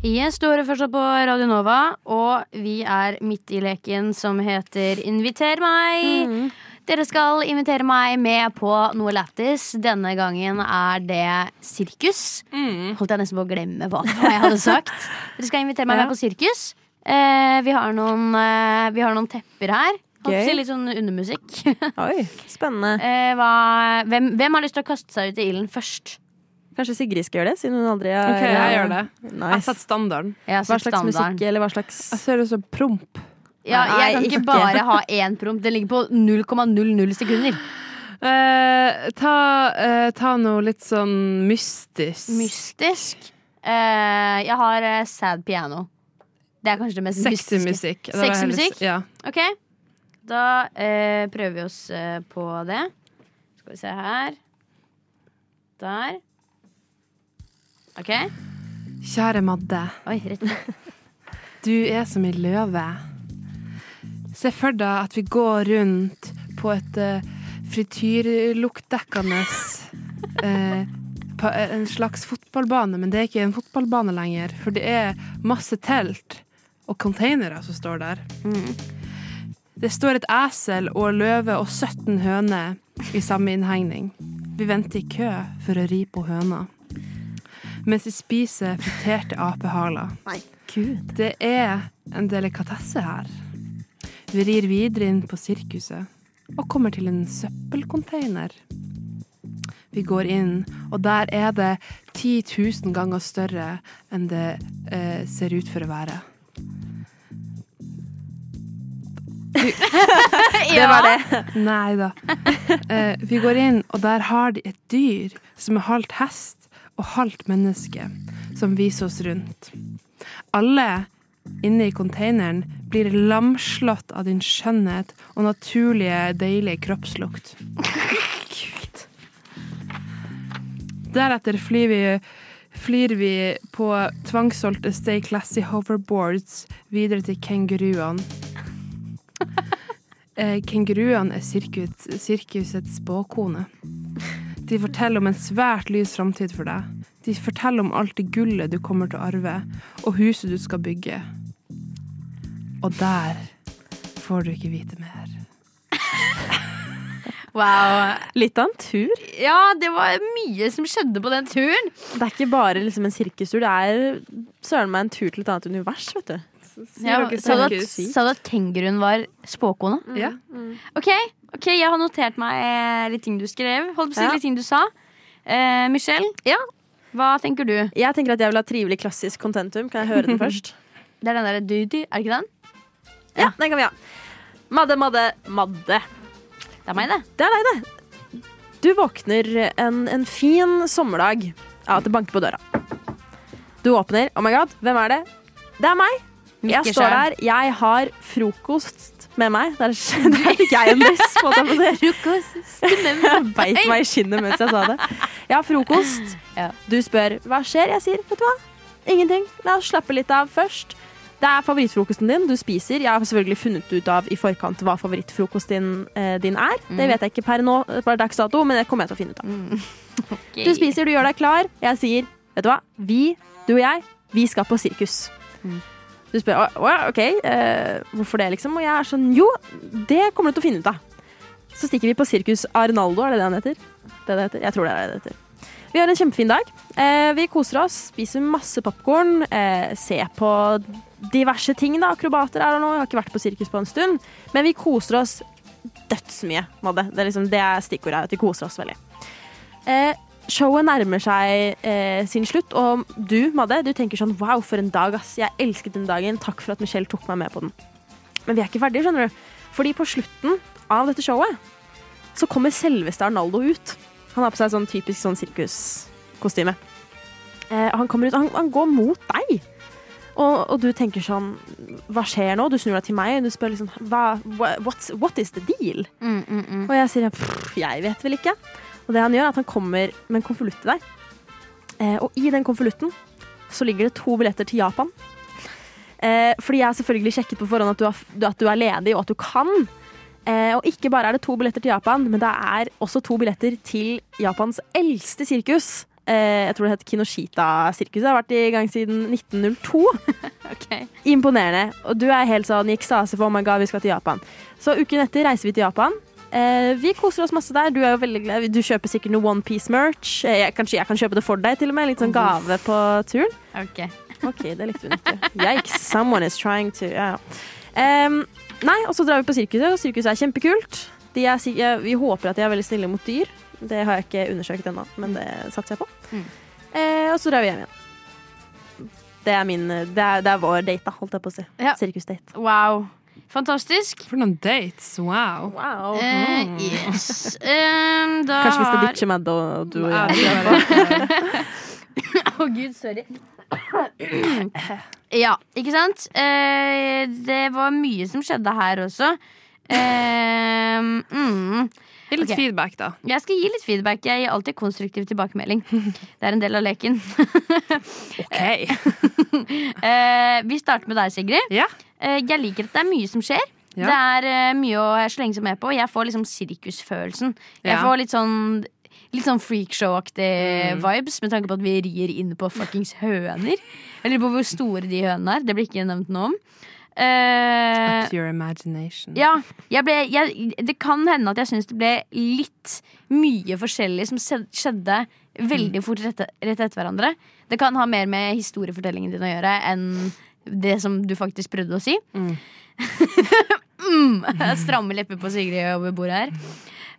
E: Jeg står fortsatt på Radio Nova, og vi er midt i leken som heter Inviter meg. Dere skal invitere meg med på noe lættis. Denne gangen er det sirkus. Holdt jeg nesten på å glemme hva det var jeg hadde sagt. Dere skal invitere meg
D: Ja.
E: med på sirkus. Eh, vi, har noen, eh, vi har noen tepper her. Holdt på å
D: Gøy.
E: si Litt sånn undermusikk.
D: Oi, spennende.
E: eh, hva, hvem, hvem har lyst til å kaste seg ut i ilden først?
D: Kanskje Sigrid skal gjøre det, siden hun aldri har
G: OK, jeg gjør det. Jeg
D: Nice.
G: setter standarden.
E: Jeg har
D: Hva
E: sett
D: slags
E: standarden.
D: musikk, eller hva slags
G: Jeg ser ut som promp.
E: Ja,
D: Nei,
E: jeg kan ikke
D: ikke.
E: bare ha én promp. Den ligger på 0,00 sekunder.
G: Eh, ta, eh, ta noe litt sånn mystisk.
E: Mystisk. Eh, jeg har eh, sad piano. Det er kanskje det mest
G: Sexy
E: mystiske.
G: musikk. Det var
E: Sexy
G: heller-
E: musikk?
G: Ja.
E: Ok, Da eh, prøver vi oss eh, på det. Skal vi se her. Der. OK.
G: Kjære Madde,
E: Oi, rett
G: du er som ei løve. Se for deg at vi går rundt på et eh, frityrluktdekkende eh, på en slags fotballbane, men det er ikke en fotballbane lenger, for det er masse telt og containere som står der. Det står et esel og løve og 17 høner i samme innhegning. Vi venter i kø for å ri på høna. Mens vi spiser friterte apehaler. Det er en delikatesse her. Vi rir videre inn på sirkuset og kommer til en søppelcontainer. Vi går inn, og der er det 10 000 ganger større enn det eh, ser ut for å være.
D: Det var det.
G: Nei da. Eh, vi går inn, og der har de et dyr som er halvt hest og halvt menneske, som viser oss rundt. Alle inne i konteineren blir lamslått av din skjønnhet og naturlige, deilige kroppslukt. Deretter flyr vi, flyr vi på tvangssolgte Stay Classy hoverboards videre til kenguruene. Eh, Kenguruene er sirkus, sirkusets spåkone. De forteller om en svært lys framtid for deg. De forteller om alt det gullet du kommer til å arve, og huset du skal bygge. Og der får du ikke vite mer.
E: Wow.
D: Litt av en tur.
E: Ja, det var mye som skjedde på den turen.
D: Det er ikke bare liksom en sirkustur, det er søren meg en tur til et annet univers, vet du.
E: Ja,
G: dere
E: sa, du at,
G: sirkus?
E: sa du at kenguruen var spåkona?
G: Ja.
E: Ok, ok, jeg har notert meg eh, litt ting du skrev. Holdt på å si
D: Ja.
E: litt ting du sa. Eh, Michelle, hva tenker du?
D: Jeg tenker at jeg vil ha trivelig klassisk contentum. Kan jeg høre den først?
E: Det er den derre du-du, er det ikke den?
D: Ja, den kan vi ha. Madde, Madde, Madde.
E: Det er meg, det.
D: Det er deg, det. Du våkner en, en fin sommerdag av at det banker på døra. Du åpner. Oh my god, hvem er det? Det er meg. Jeg
E: Mikke
D: står
E: Schjær.
D: der. Jeg har frokost med meg. Der, der fikk jeg en lyst på at jeg får se. Jeg beit meg i skinnet mens jeg sa det. Jeg har frokost.
E: Ja.
D: Du spør hva skjer. Jeg sier vet du hva, ingenting. La oss slappe litt av først. Det er favorittfrokosten din. Du spiser. Jeg har selvfølgelig funnet ut av i forkant hva favorittfrokosten din, eh, din er. Det vet jeg ikke per nå, eh, per dags dato, men det kommer jeg til å finne ut av. Du spiser, du gjør deg klar. Jeg sier, vet du hva, vi, du og jeg, vi skal på sirkus. Du spør, «Å, å, ok, eh, hvorfor det liksom? Og jeg er sånn, jo, det kommer du til å finne ut av. Så stikker vi på sirkus Arnaldo, er det det han heter? Det det heter? Jeg tror det er det det heter. Vi har en kjempefin dag. Eh, vi koser oss, spiser masse popcorn, eh, ser på diverse ting da, akrobater er det nå, jeg har ikke vært på sirkus på en stund, men vi koser oss dødsmye, Madde. Det er, liksom, det er stikkordet her, at vi koser oss veldig. Eh, Showet nærmer seg eh, sin slutt, og du, Madde, du tenker sånn Wow, for en dag, ass. Jeg elsket den dagen. Takk for at Michelle tok meg med på den. Men vi er ikke ferdige, skjønner du. Fordi på slutten av dette showet så kommer selveste Arnaldo ut. Han har på seg sånn typisk sånn sirkuskostyme. Eh, han kommer ut, han, han går mot deg. Og, og du tenker sånn Hva skjer nå? Du snur deg til meg og du spør liksom hva, hva- what's, What is the deal?
E: Mm,
D: Og jeg sier «Pff, Jeg vet vel ikke. Og det han gjør er at han kommer med en konvolutt til deg. Eh, og i den konvolutten så ligger det to billetter til Japan. Eh, fordi jeg har selvfølgelig sjekket på forhånd at du, er, at du er ledig og at du kan. Eh, og ikke bare er det to billetter til Japan, men det er også to billetter til Japans eldste sirkus. Eh, jeg tror det heter Kinoshita-sirkuset. Har vært i gang siden 1902.
E: Ok.
D: Imponerende. Og du er helt sånn i ekstase for oh my god, vi skal til Japan. Så uken etter reiser vi til Japan. Eh, vi koser oss masse der. Du er jo veldig glad. Du kjøper sikkert noe Onepiece-merch. Eh, jeg- kanskje jeg kan kjøpe det for deg, til og med. Litt sånn gave på turen.
E: Ok.
D: OK, det likte hun ikke. Yikes. Someone is trying to ja. ja. Em, Nei, og så drar vi på sirkuset, og sirkuset er kjempekult. De er, sik- eh, vi håper at de er veldig snille mot dyr. Det har jeg ikke undersøkt ennå, men det satser jeg på.
E: Mm.
D: Eh, og så drar vi hjem igjen. Det er, min, det er, det er vår date, da, holdt jeg på å si.
E: Ja.
D: Sirkusdate.
E: Wow. Fantastisk.
G: For noen dates! Wow.
E: Eh, yes. Eh, da
D: Kanskje vi skal
E: har-
D: ditche med det og du og
G: Ja,
D: jeg.
G: det var-
E: Å gud, sorry. ja, ikke sant? Eh, det var mye som skjedde her også. Eh, mm.
G: Gi litt
E: Ok.
G: feedback, da.
E: Jeg skal gi litt feedback. Jeg gir alltid konstruktiv tilbakemelding. Det er en del av leken.
G: OK.
E: Eh, vi starter med deg, Sigrid.
G: Ja.
E: Eh, jeg liker at det er mye som skjer.
G: Ja.
E: Det er eh, mye å slenge seg med på. Jeg får liksom sirkusfølelsen. Jeg
G: Ja. Mm.
E: får litt sånn Litt sånn freakshow-aktig vibes, med tanke på at vi rir inn på fuckings høner. Jeg lurer på hvor store de hønene er. Det blir ikke nevnt noe om. Eh,
G: Up to your imagination.
E: ja, jeg ble, jeg, det kan hende at jeg syns det ble litt mye forskjellig som se- skjedde veldig fort rett, rett etter hverandre. Det kan ha mer med historiefortellingen din å gjøre enn det som du faktisk prøvde å si. Mm. Stramme lepper på Sigrid over bordet her.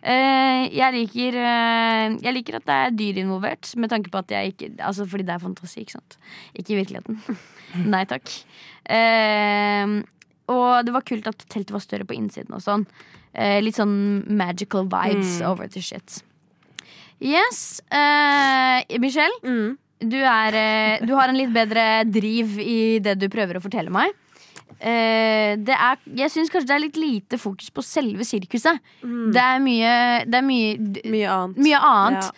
E: Eh, jeg, liker, eh, jeg liker at det er dyr involvert, med tanke på at jeg ikke Altså fordi det er fantasi, ikke sant? Ikke i virkeligheten. Nei takk. Eh, og det var kult at teltet var større på innsiden og sånn. Eh, litt sånn magical vibes over the shit. Yes. eh, Michelle,
D: Mm.
E: du, er, eh, du har en litt bedre driv i det du prøver å fortelle meg. Eh, det er, jeg syns kanskje det er litt lite fokus på selve sirkuset. Det er mye, det er mye, d-
D: Mye annet.
E: mye annet.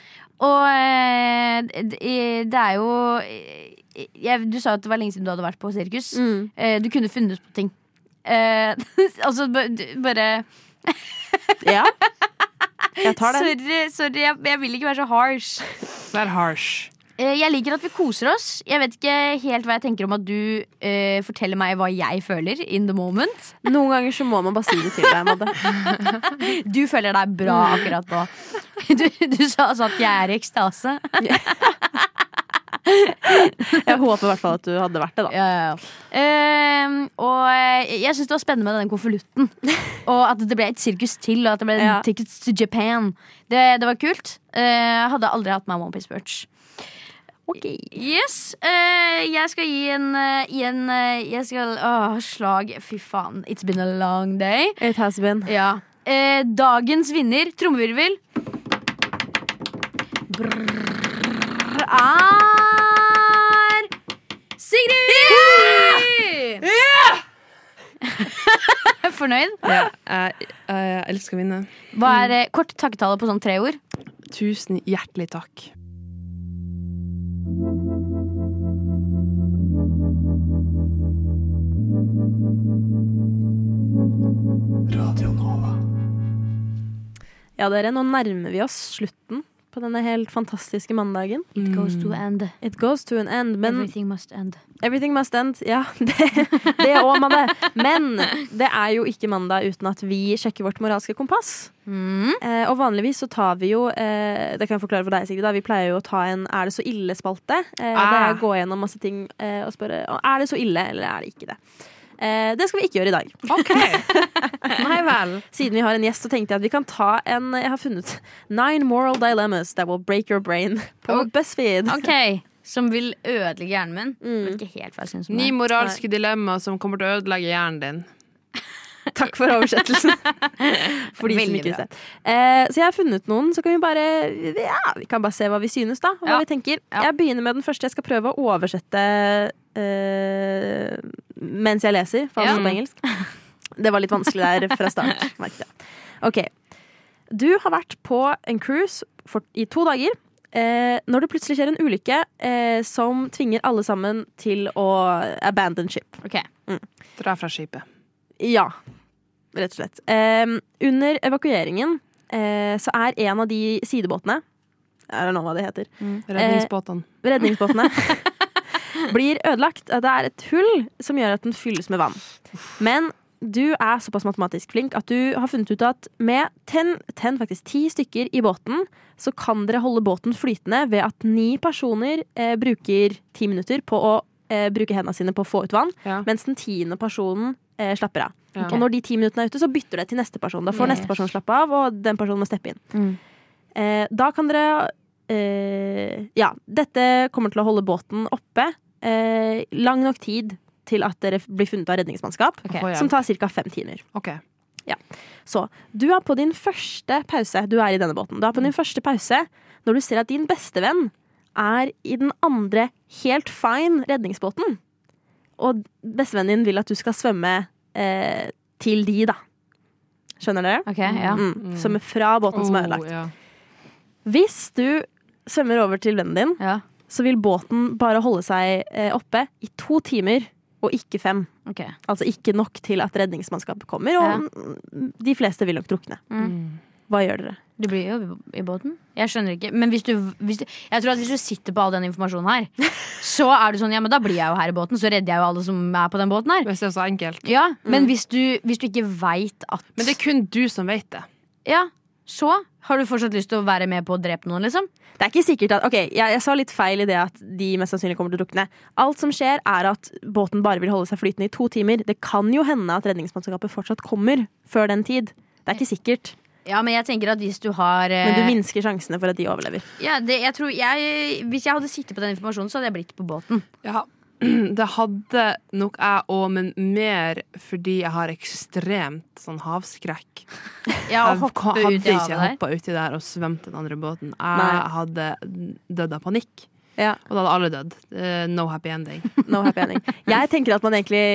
E: Og eh, d- i- det er jo eh, jeg, Du sa at det var lenge siden du hadde vært på sirkus.
D: Mm.
E: Eh, Du kunne funnet på ting. Eh, altså, b- d- bare
D: Ja. Jeg tar det.
E: Sorry, sorry jeg, jeg vil ikke være så harsh.
G: Det er harsh.
E: Eh, jeg liker at vi koser oss. Jeg vet ikke helt hva jeg tenker om at du eh, forteller meg hva jeg føler in the moment.
D: Noen ganger så må man bare si det til deg. Madde.
E: Du føler deg bra akkurat nå. Du, du sa altså at jeg er i ekstase.
D: Jeg håper i hvert fall at du hadde vært det, da.
E: Ja, ja, ja. Ehm, og eh, jeg syns det var spennende med denne konvolutten. og at det ble et sirkus til, og at det ble
D: Ja.
E: tickets to Japan. Det, det var kult. Eh, hadde aldri hatt meg onepiece-merch. Yes. eh, jeg skal gi en, eh, gi en eh, Jeg skal Åh, slag. Fy faen. It's been a long day.
D: It has been.
E: Ja. Eh, dagens vinner, trommevirvel Brrr, Er Sigrid! Fornøyd?
G: Ja, jeg, jeg elsker å vinne.
E: Hva er eh, kort takketale på sånn tre ord?
G: Tusen hjertelig takk.
D: Ja, dere, nå nærmer vi oss slutten på denne helt fantastiske mandagen.
E: It goes to end.
D: It goes to an end, men
E: Everything must end.
D: Everything must end. Ja, det, det òg, Madde. Men det er jo ikke mandag uten at vi sjekker vårt moralske kompass.
E: Mm.
D: Eh, og vanligvis så tar vi jo eh, Det kan jeg forklare for deg, Sigrid. Da. Vi pleier jo å ta en 'er det så ille'-spalte. Eh,
G: Ah.
D: Der jeg går gjennom masse ting eh, og spør eh, 'er det så ille', eller 'er det ikke det'. Eh, det skal vi ikke gjøre i dag.
G: OK. Nei vel.
D: Siden vi har en gjest, så tenkte jeg at vi kan ta en Jeg har funnet Nine moral dilemmas that will break your brain på
E: Og-
D: BuzzFeed.
E: Ok, Som vil ødelegge hjernen min. Vet ikke helt hva jeg syns om
G: Ni
E: det.
G: moralske dilemmaer som kommer til å ødelegge hjernen din.
D: Takk for oversettelsen. For de som
E: Veldig
D: ikke
E: bra.
D: visste. Eh, så jeg har funnet noen, så kan vi bare ja, Vi kan bare se hva vi synes, da. Og hva
E: Ja.
D: vi tenker.
E: Ja.
D: Jeg begynner med den første. Jeg skal prøve å oversette eh, mens jeg leser, for
E: Ja.
D: altså på engelsk. Det var litt vanskelig der fra start, merket jeg. Ok. Du har vært på en cruise for, i to dager. Eh, når det plutselig skjer en ulykke eh, som tvinger alle sammen til å abandon ship.
E: Ok.
G: Dra fra skipet.
D: Ja, rett og slett. Ehm, under evakueringen eh, så er en av de sidebåtene Er det nå hva det heter?
G: Eh, Redningsbåtene.
D: Redningsbåtene. blir ødelagt. Det er et hull som gjør at den fylles med vann. Men du er såpass matematisk flink at du har funnet ut at med ten, ten, faktisk ti stykker i båten, så kan dere holde båten flytende ved at ni personer eh, bruker ti minutter på å eh, bruke hendene sine på å få ut vann,
G: Ja.
D: mens den tiende personen eh, slapper av.
G: Ja.
D: Og når de ti minuttene er ute, så bytter det til neste person. Da får
E: Yes.
D: neste person slappe av, og den personen må steppe inn. Eh, da kan dere eh, Ja, dette kommer til å holde båten oppe eh, lang nok tid til at dere blir funnet av redningsmannskap,
E: Ok.
G: Få hjelp.
D: som tar ca. fem timer.
G: OK.
D: Så du er på din første pause. Du er i denne båten. Du er på din første pause når du ser at din bestevenn er i den andre helt fine redningsbåten. Og bestevennen din vil at du skal svømme eh, til de, da. Skjønner dere?
E: Ok, ja.
D: Mm. Svømme fra båten som er ødelagt.
G: Oh, ja.
D: Hvis du svømmer over til vennen din,
E: ja.
D: så vil båten bare holde seg eh, oppe i to timer og ikke fem.
E: Ok.
D: Altså ikke nok til at redningsmannskapet kommer, og
E: Ja. Mm.
D: mm, de fleste vil nok drukne. Hva gjør dere?
E: Du blir jo i båten. Jeg skjønner ikke. Men hvis du, hvis du, jeg tror at hvis du sitter på all den informasjonen her, så er du sånn Ja, men da blir jeg jo her i båten, så redder jeg jo alle som er på den båten her.
G: Hvis det er så enkelt.
E: Ja, Men hvis du, hvis du ikke veit at
G: Men det er kun du som vet det.
E: Ja, så har du fortsatt lyst til å være med på å drepe noen, liksom?
D: Det er ikke sikkert at, ok, jeg, jeg sa litt feil i det at de mest sannsynlig kommer til å drukne. Alt som skjer er at båten bare vil holde seg flytende i to timer. Det kan jo hende at redningsmannskapet fortsatt kommer før den tid. Det er ikke sikkert,
E: Ja, men jeg tenker at hvis du har eh,
D: men du minsker sjansene for at de overlever.
E: ja, det, jeg tror jeg, Hvis jeg hadde sittet på den informasjonen, så hadde jeg blitt på båten.
G: Ja. Det hadde nok jeg òg, men mer fordi jeg har ekstremt sånn havskrekk.
E: Ja,
G: Jeg
E: og hoppe
G: hadde
E: ut i
G: ikke
E: havet der.
G: hoppa uti der og svømt den andre båten. Jeg
D: Nei.
G: hadde dødd av panikk.
D: Ja.
G: Og da hadde alle dødd. Eh, no happy ending.
D: No happy ending. Jeg tenker at man egentlig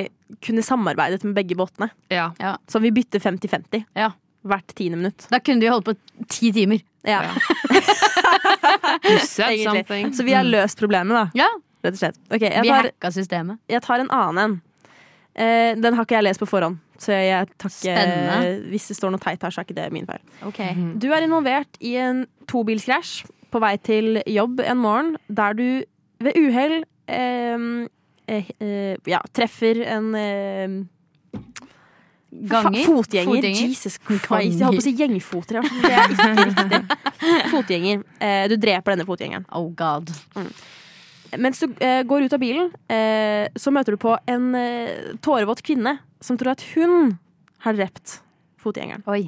D: kunne samarbeidet med begge båtene.
G: Ja.
D: Så vi bytter 50-50
E: Ja.
D: hvert tiende minutt.
E: Da kunne du jo holdt på ti timer.
D: Ja,
G: You said
D: egentlig.
G: something.
D: Så vi har løst problemet, da.
E: Ja,
D: Rett og slett. Ok, jeg
E: Vi
D: tar,
E: hacka systemet.
D: jeg tar en annen en. Eh, den har ikke jeg lest på forhånd. Så jeg tar ikke,
E: Spennende.
D: hvis det står noe teit her, så er ikke det min feil. Du er involvert i en tobilskrasj på vei til jobb en morgen, der du ved uhell eh, eh, eh, ja, treffer en eh,
E: Ganger?
D: Fa- Fotgjenger.
E: Fotgjenger.
D: Jesus Christ. Jeg holdt på å si gjengfotere. altså. Det er ikke riktig. Fotgjenger. Eh, Du dreper denne fotgjengeren.
E: Oh god.
D: Mens du eh, går ut av bilen, eh, så møter du på en eh, tårevåt kvinne som tror at hun har drept fotgjengeren.
E: Oi.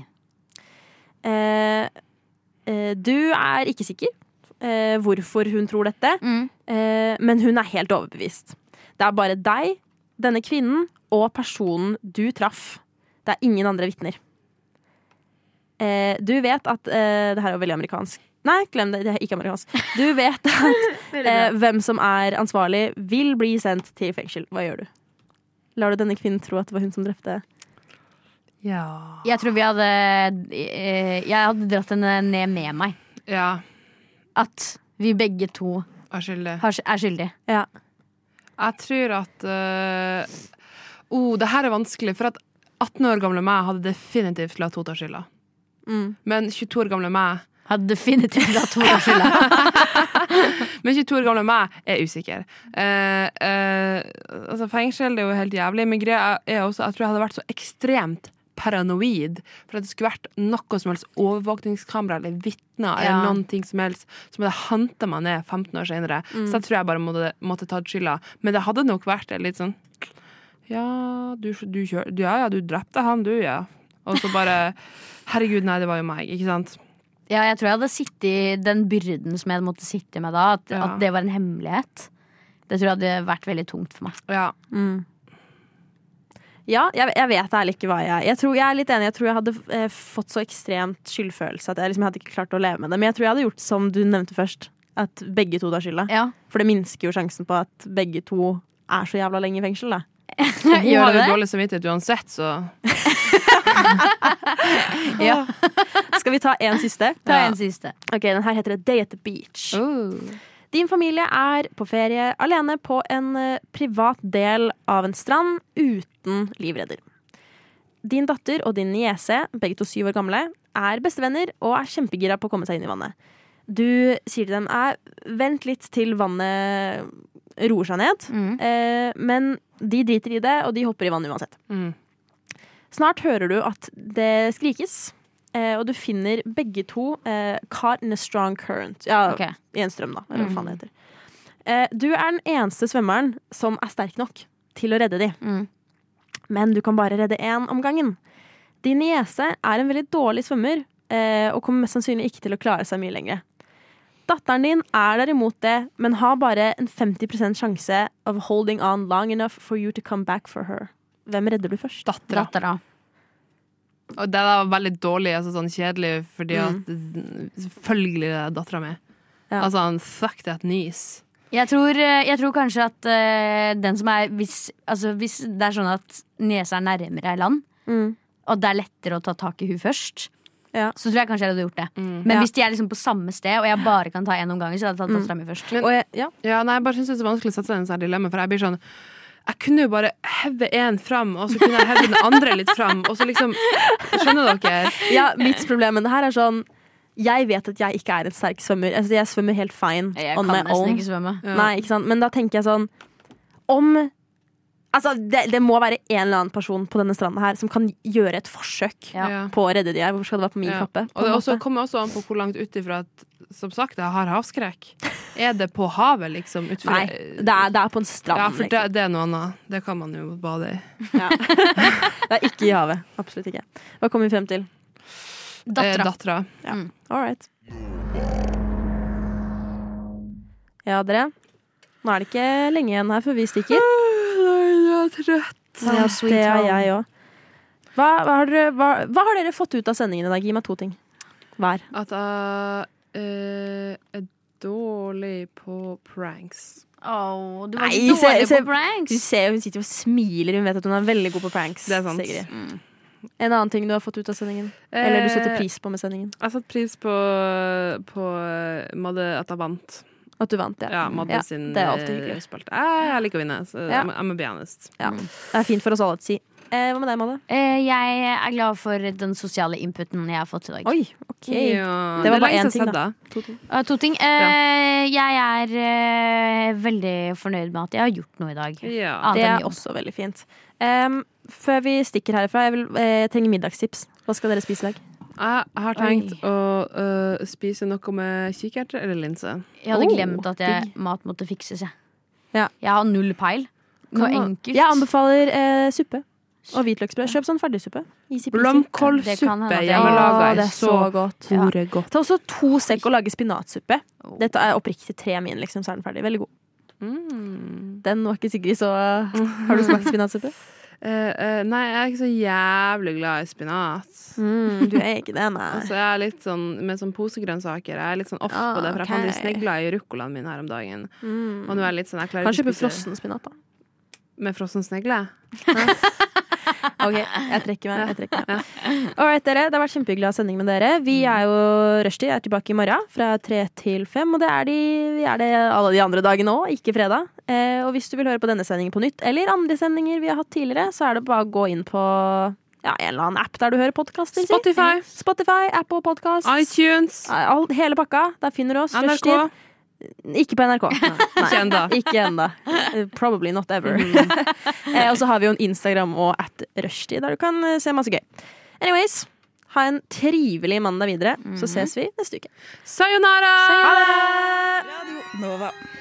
D: Eh, eh, Du er ikke sikker eh, hvorfor hun tror dette,
E: Mm.
D: eh, men hun er helt overbevist. Det er bare deg, denne kvinnen og personen du traff. Det er ingen andre vitner. Eh, Du vet at eh, Det her er jo veldig amerikansk. Nei, glem det. Det er ikke amerikansk. Du vet at eh, hvem som er ansvarlig, vil bli sendt til fengsel. Hva gjør du? Lar du denne kvinnen tro at det var hun som drepte?
G: Ja.
E: Jeg tror vi hadde eh, Jeg hadde dratt henne ned med meg.
G: ja.
E: At vi begge to
G: Jeg skyldig.
E: har, er skyldige.
G: Jeg tror at øh, oh, Det her er vanskelig, for at 18 år gamle meg hadde definitivt latt henne ta skylda.
D: Mm.
G: Men 22 år gamle meg
E: Hadde definitivt hatt henne skylda.
G: Men 22 år gamle meg er usikker. Eh, eh, altså Fengsel det er jo helt jævlig, men greia er også jeg tror jeg hadde vært så ekstremt paranoid for at det skulle vært noe som helst overvåkningskamera eller vitner
E: Ja.
G: eller noen ting som helst som hadde hanta meg ned 15 år senere.
E: Mm.
G: Så jeg tror jeg bare måtte, måtte tatt skylda. Men det hadde nok vært litt sånn Ja, du, du kjør, ja, ja, du drepte han, du, ja. Og så bare Herregud, nei, det var jo meg, ikke sant?
E: Ja, jeg tror jeg hadde sittet i den byrden som jeg måtte sitte med da. At,
G: Ja.
E: at det var en hemmelighet. Det tror jeg hadde vært veldig tungt for meg.
G: Ja.
D: Ja, jeg, jeg vet ærlig ikke hva jeg Jeg tror jeg er litt enig, jeg tror jeg hadde eh, fått så ekstremt skyldfølelse at jeg liksom hadde ikke klart å leve med det. Men jeg tror jeg hadde gjort som du nevnte først, at begge to tar skylda.
E: Ja.
D: For det minsker jo sjansen på at begge to er så jævla lenge i fengsel, da.
G: Hun
E: Gjør
G: hadde
E: det
G: jo
E: det?
G: dårlig samvittighet uansett, så
E: Ja.
D: Skal vi ta en siste?
E: Ta en siste.
D: Ok, den her heter det Day at the Beach. Din familie er på ferie alene på en eh, privat del av en strand uten livredder. Din datter og din niese, begge to syv år gamle, er bestevenner og er kjempegira på å komme seg inn i vannet. Du sier til dem «Æ, vent litt til vannet roer seg ned, eh, men de driter i det, og de hopper i vannet uansett.
G: Mm.
D: Snart hører du at det skrikes, eh, og du finner begge to eh, caught in a strong current. Ja,
E: Ok.
D: i en strøm, da. Eller hva faen det heter. Eh, du er den eneste svømmeren som er sterk nok til å redde de.
E: Mm.
D: Men du kan bare redde én om gangen. Din niese er en veldig dårlig svømmer eh, og kommer mest sannsynlig ikke til å klare seg mye lenger. Datteren din er derimot det, men har bare en 50 sjanse of holding on long enough for you to come back for her. Hvem redder du først?
G: Dattera.
E: Dattera.
G: Og det der var veldig dårlig, altså sånn kjedelig, fordi at Selvfølgelig det er dattera mi.
D: Mm. Ja.
G: Altså, han fuck that niece.
E: Jeg tror, jeg tror kanskje at eh, den som er hvis, altså, hvis det er sånn at niesa er nærmere ei land,
D: Mm.
E: og det er lettere å ta tak i hun først,
D: Ja.
E: så tror jeg kanskje jeg hadde gjort det. Men hvis de er liksom på samme sted, og jeg bare
D: Mm.
E: kan ta én om gangen, så hadde jeg tatt dattera mi først.
G: Men-
D: Og jeg, ja.
G: Ja, nei, jeg bare synes det er så vanskelig å sette seg i en sånn dilemma, for jeg blir sånn Jeg kunne jo bare heve én fram, og så kunne jeg heve den andre litt fram. Og så liksom, Skjønner dere?
D: Ja, mitt problem med det her er sånn Jeg vet at jeg ikke er en sterk svømmer. Altså, jeg svømmer helt fine
E: Jeg
D: on
E: kan
D: my
E: nesten
D: own.
E: ikke svømme.
G: Ja.
D: Nei, ikke sant? Men da tenker jeg sånn Om Altså, det, det må være en eller annen person på denne stranda her som kan gjøre et forsøk
E: Ja.
G: Ja.
D: på å redde de her. Hvorfor skal det være på min
G: Ja.
D: kappe? på
G: Og det
D: en
G: også,
D: måte?
G: kommer også an på hvor langt ut ifra at Som sagt, jeg har havskrekk. Er det på havet, liksom? Ut fra-
D: Nei, det er, det er på en strand.
G: Ja, for det,
D: liksom.
G: det er noe annet. Det kan man jo bade i.
D: det er ikke i havet. Absolutt ikke. Hva kom vi frem til?
G: Eh,
E: Dattera.
G: Dattera.
D: All right. Ja, dere. Nå er det ikke lenge igjen her før vi stikker.
G: Jeg er trøtt.
D: Ja, det er jeg òg. Hva, hva, har dere- hva, hva har dere fått ut av sendingen i dag? Gi meg to ting hver.
G: At jeg eh, er dårlig på pranks.
E: Åh, du var
D: Nei,
E: ikke
D: se-
E: dårlig
D: se-
E: på pranks.
D: Du ser jo hun sitter og smiler. Hun vet at hun er veldig god på pranks.
G: Det er sant.
D: Sigrid. En annen ting du har fått ut av sendingen? Eller du
G: Eh,
D: setter pris på med sendingen?
G: Jeg satte pris på, på eh, Madde at jeg vant.
D: At du vant, ja.
G: Ja, Madde
D: Ja,
G: sin
D: det er alltid hyggelig.
G: eh, spalte. Jeg, jeg liker å vinne, så
D: Ja.
G: jeg må- jeg må be honest.
D: Ja. Det er fint for oss alle å si. Eh, hva med deg, Madde?
E: Eh, jeg er glad for den sosiale inputen jeg har fått i dag.
D: Oi, OK.
G: Ja,
D: Det var
G: er
D: bare
G: lenge
D: én
G: siden
D: ting,
G: jeg har sett deg.
E: Eh, to ting. Eh, jeg er eh, veldig fornøyd med at jeg har gjort noe i dag.
G: Ja.
E: Annet
D: Det
E: enn
D: er
E: jobb.
D: også veldig fint. Em, før vi stikker herfra, jeg, vil, eh, jeg trenger middagstips. Hva skal dere spise i dag? Ah.
G: Jeg har tenkt å øh, spise noe med kikerter eller linse.
E: Jeg hadde
D: Oh,
E: glemt at jeg, mat måtte fikses, jeg.
D: Ja.
E: Jeg har null peil. Noe
G: Kan man-
E: enkelt.
D: Jeg anbefaler eh, suppe og hvitløksbrød. Kjøp sånn ferdigsuppe. Easy peasy.
E: Det kan hende at
G: Blomkålsuppe
E: det-
G: hjemmelaga
D: Å, det
G: er så
D: godt. Ja.
G: gore godt.
D: Ta også to sekk og lage spinatsuppe. Dette er oppriktig tre min, liksom, så er den ferdig. Veldig god. Den var ikke Sigrid, så Har du smakt spinatsuppe?
G: Eh, eh, nei, jeg er ikke så jævlig glad i spinat.
D: Mm, du er ikke det, nei.
G: Så jeg er litt sånn, Med sånn posegrønnsaker Jeg er litt sånn off
D: Ah,
G: på det, for jeg fant de
D: ok.
G: snegla i ruccolaen min her om dagen.
D: Mm.
G: Og nå er jeg litt sånn, jeg klarer
D: Kan
G: ikke
D: kjøpe
G: å spise
D: frossen spinat, da.
G: med frossen snegle.
D: Ok, jeg trekker meg. Jeg trekker meg. All right, dere, Det har vært kjempehyggelig å ha sending med dere. Vi er jo rushtid, er tilbake i morgen fra tre til fem. Og det er, de, vi er det alle de andre dagene òg, ikke fredag. Eh, og hvis du vil høre på denne sendingen på nytt, eller andre sendinger vi har hatt tidligere, så er det bare å gå inn på ja, en eller annen app der du hører podkaster.
G: Spotify.
D: Spotify, Apple Podkast.
G: iTunes,
D: All, hele pakka. Der finner du oss.
G: NRK.
D: Rushtid. Ikke på NRK.
G: Ikke ennå.
D: Ikke ennå. Eh, Probably not ever. Eh, og så har vi jo en Instagram og at rushtid, der du kan eh, se masse gøy. Anyways, ha en trivelig mandag videre, så ses vi neste uke.
G: Sayonara!
D: Ha det!
H: Radio Nova.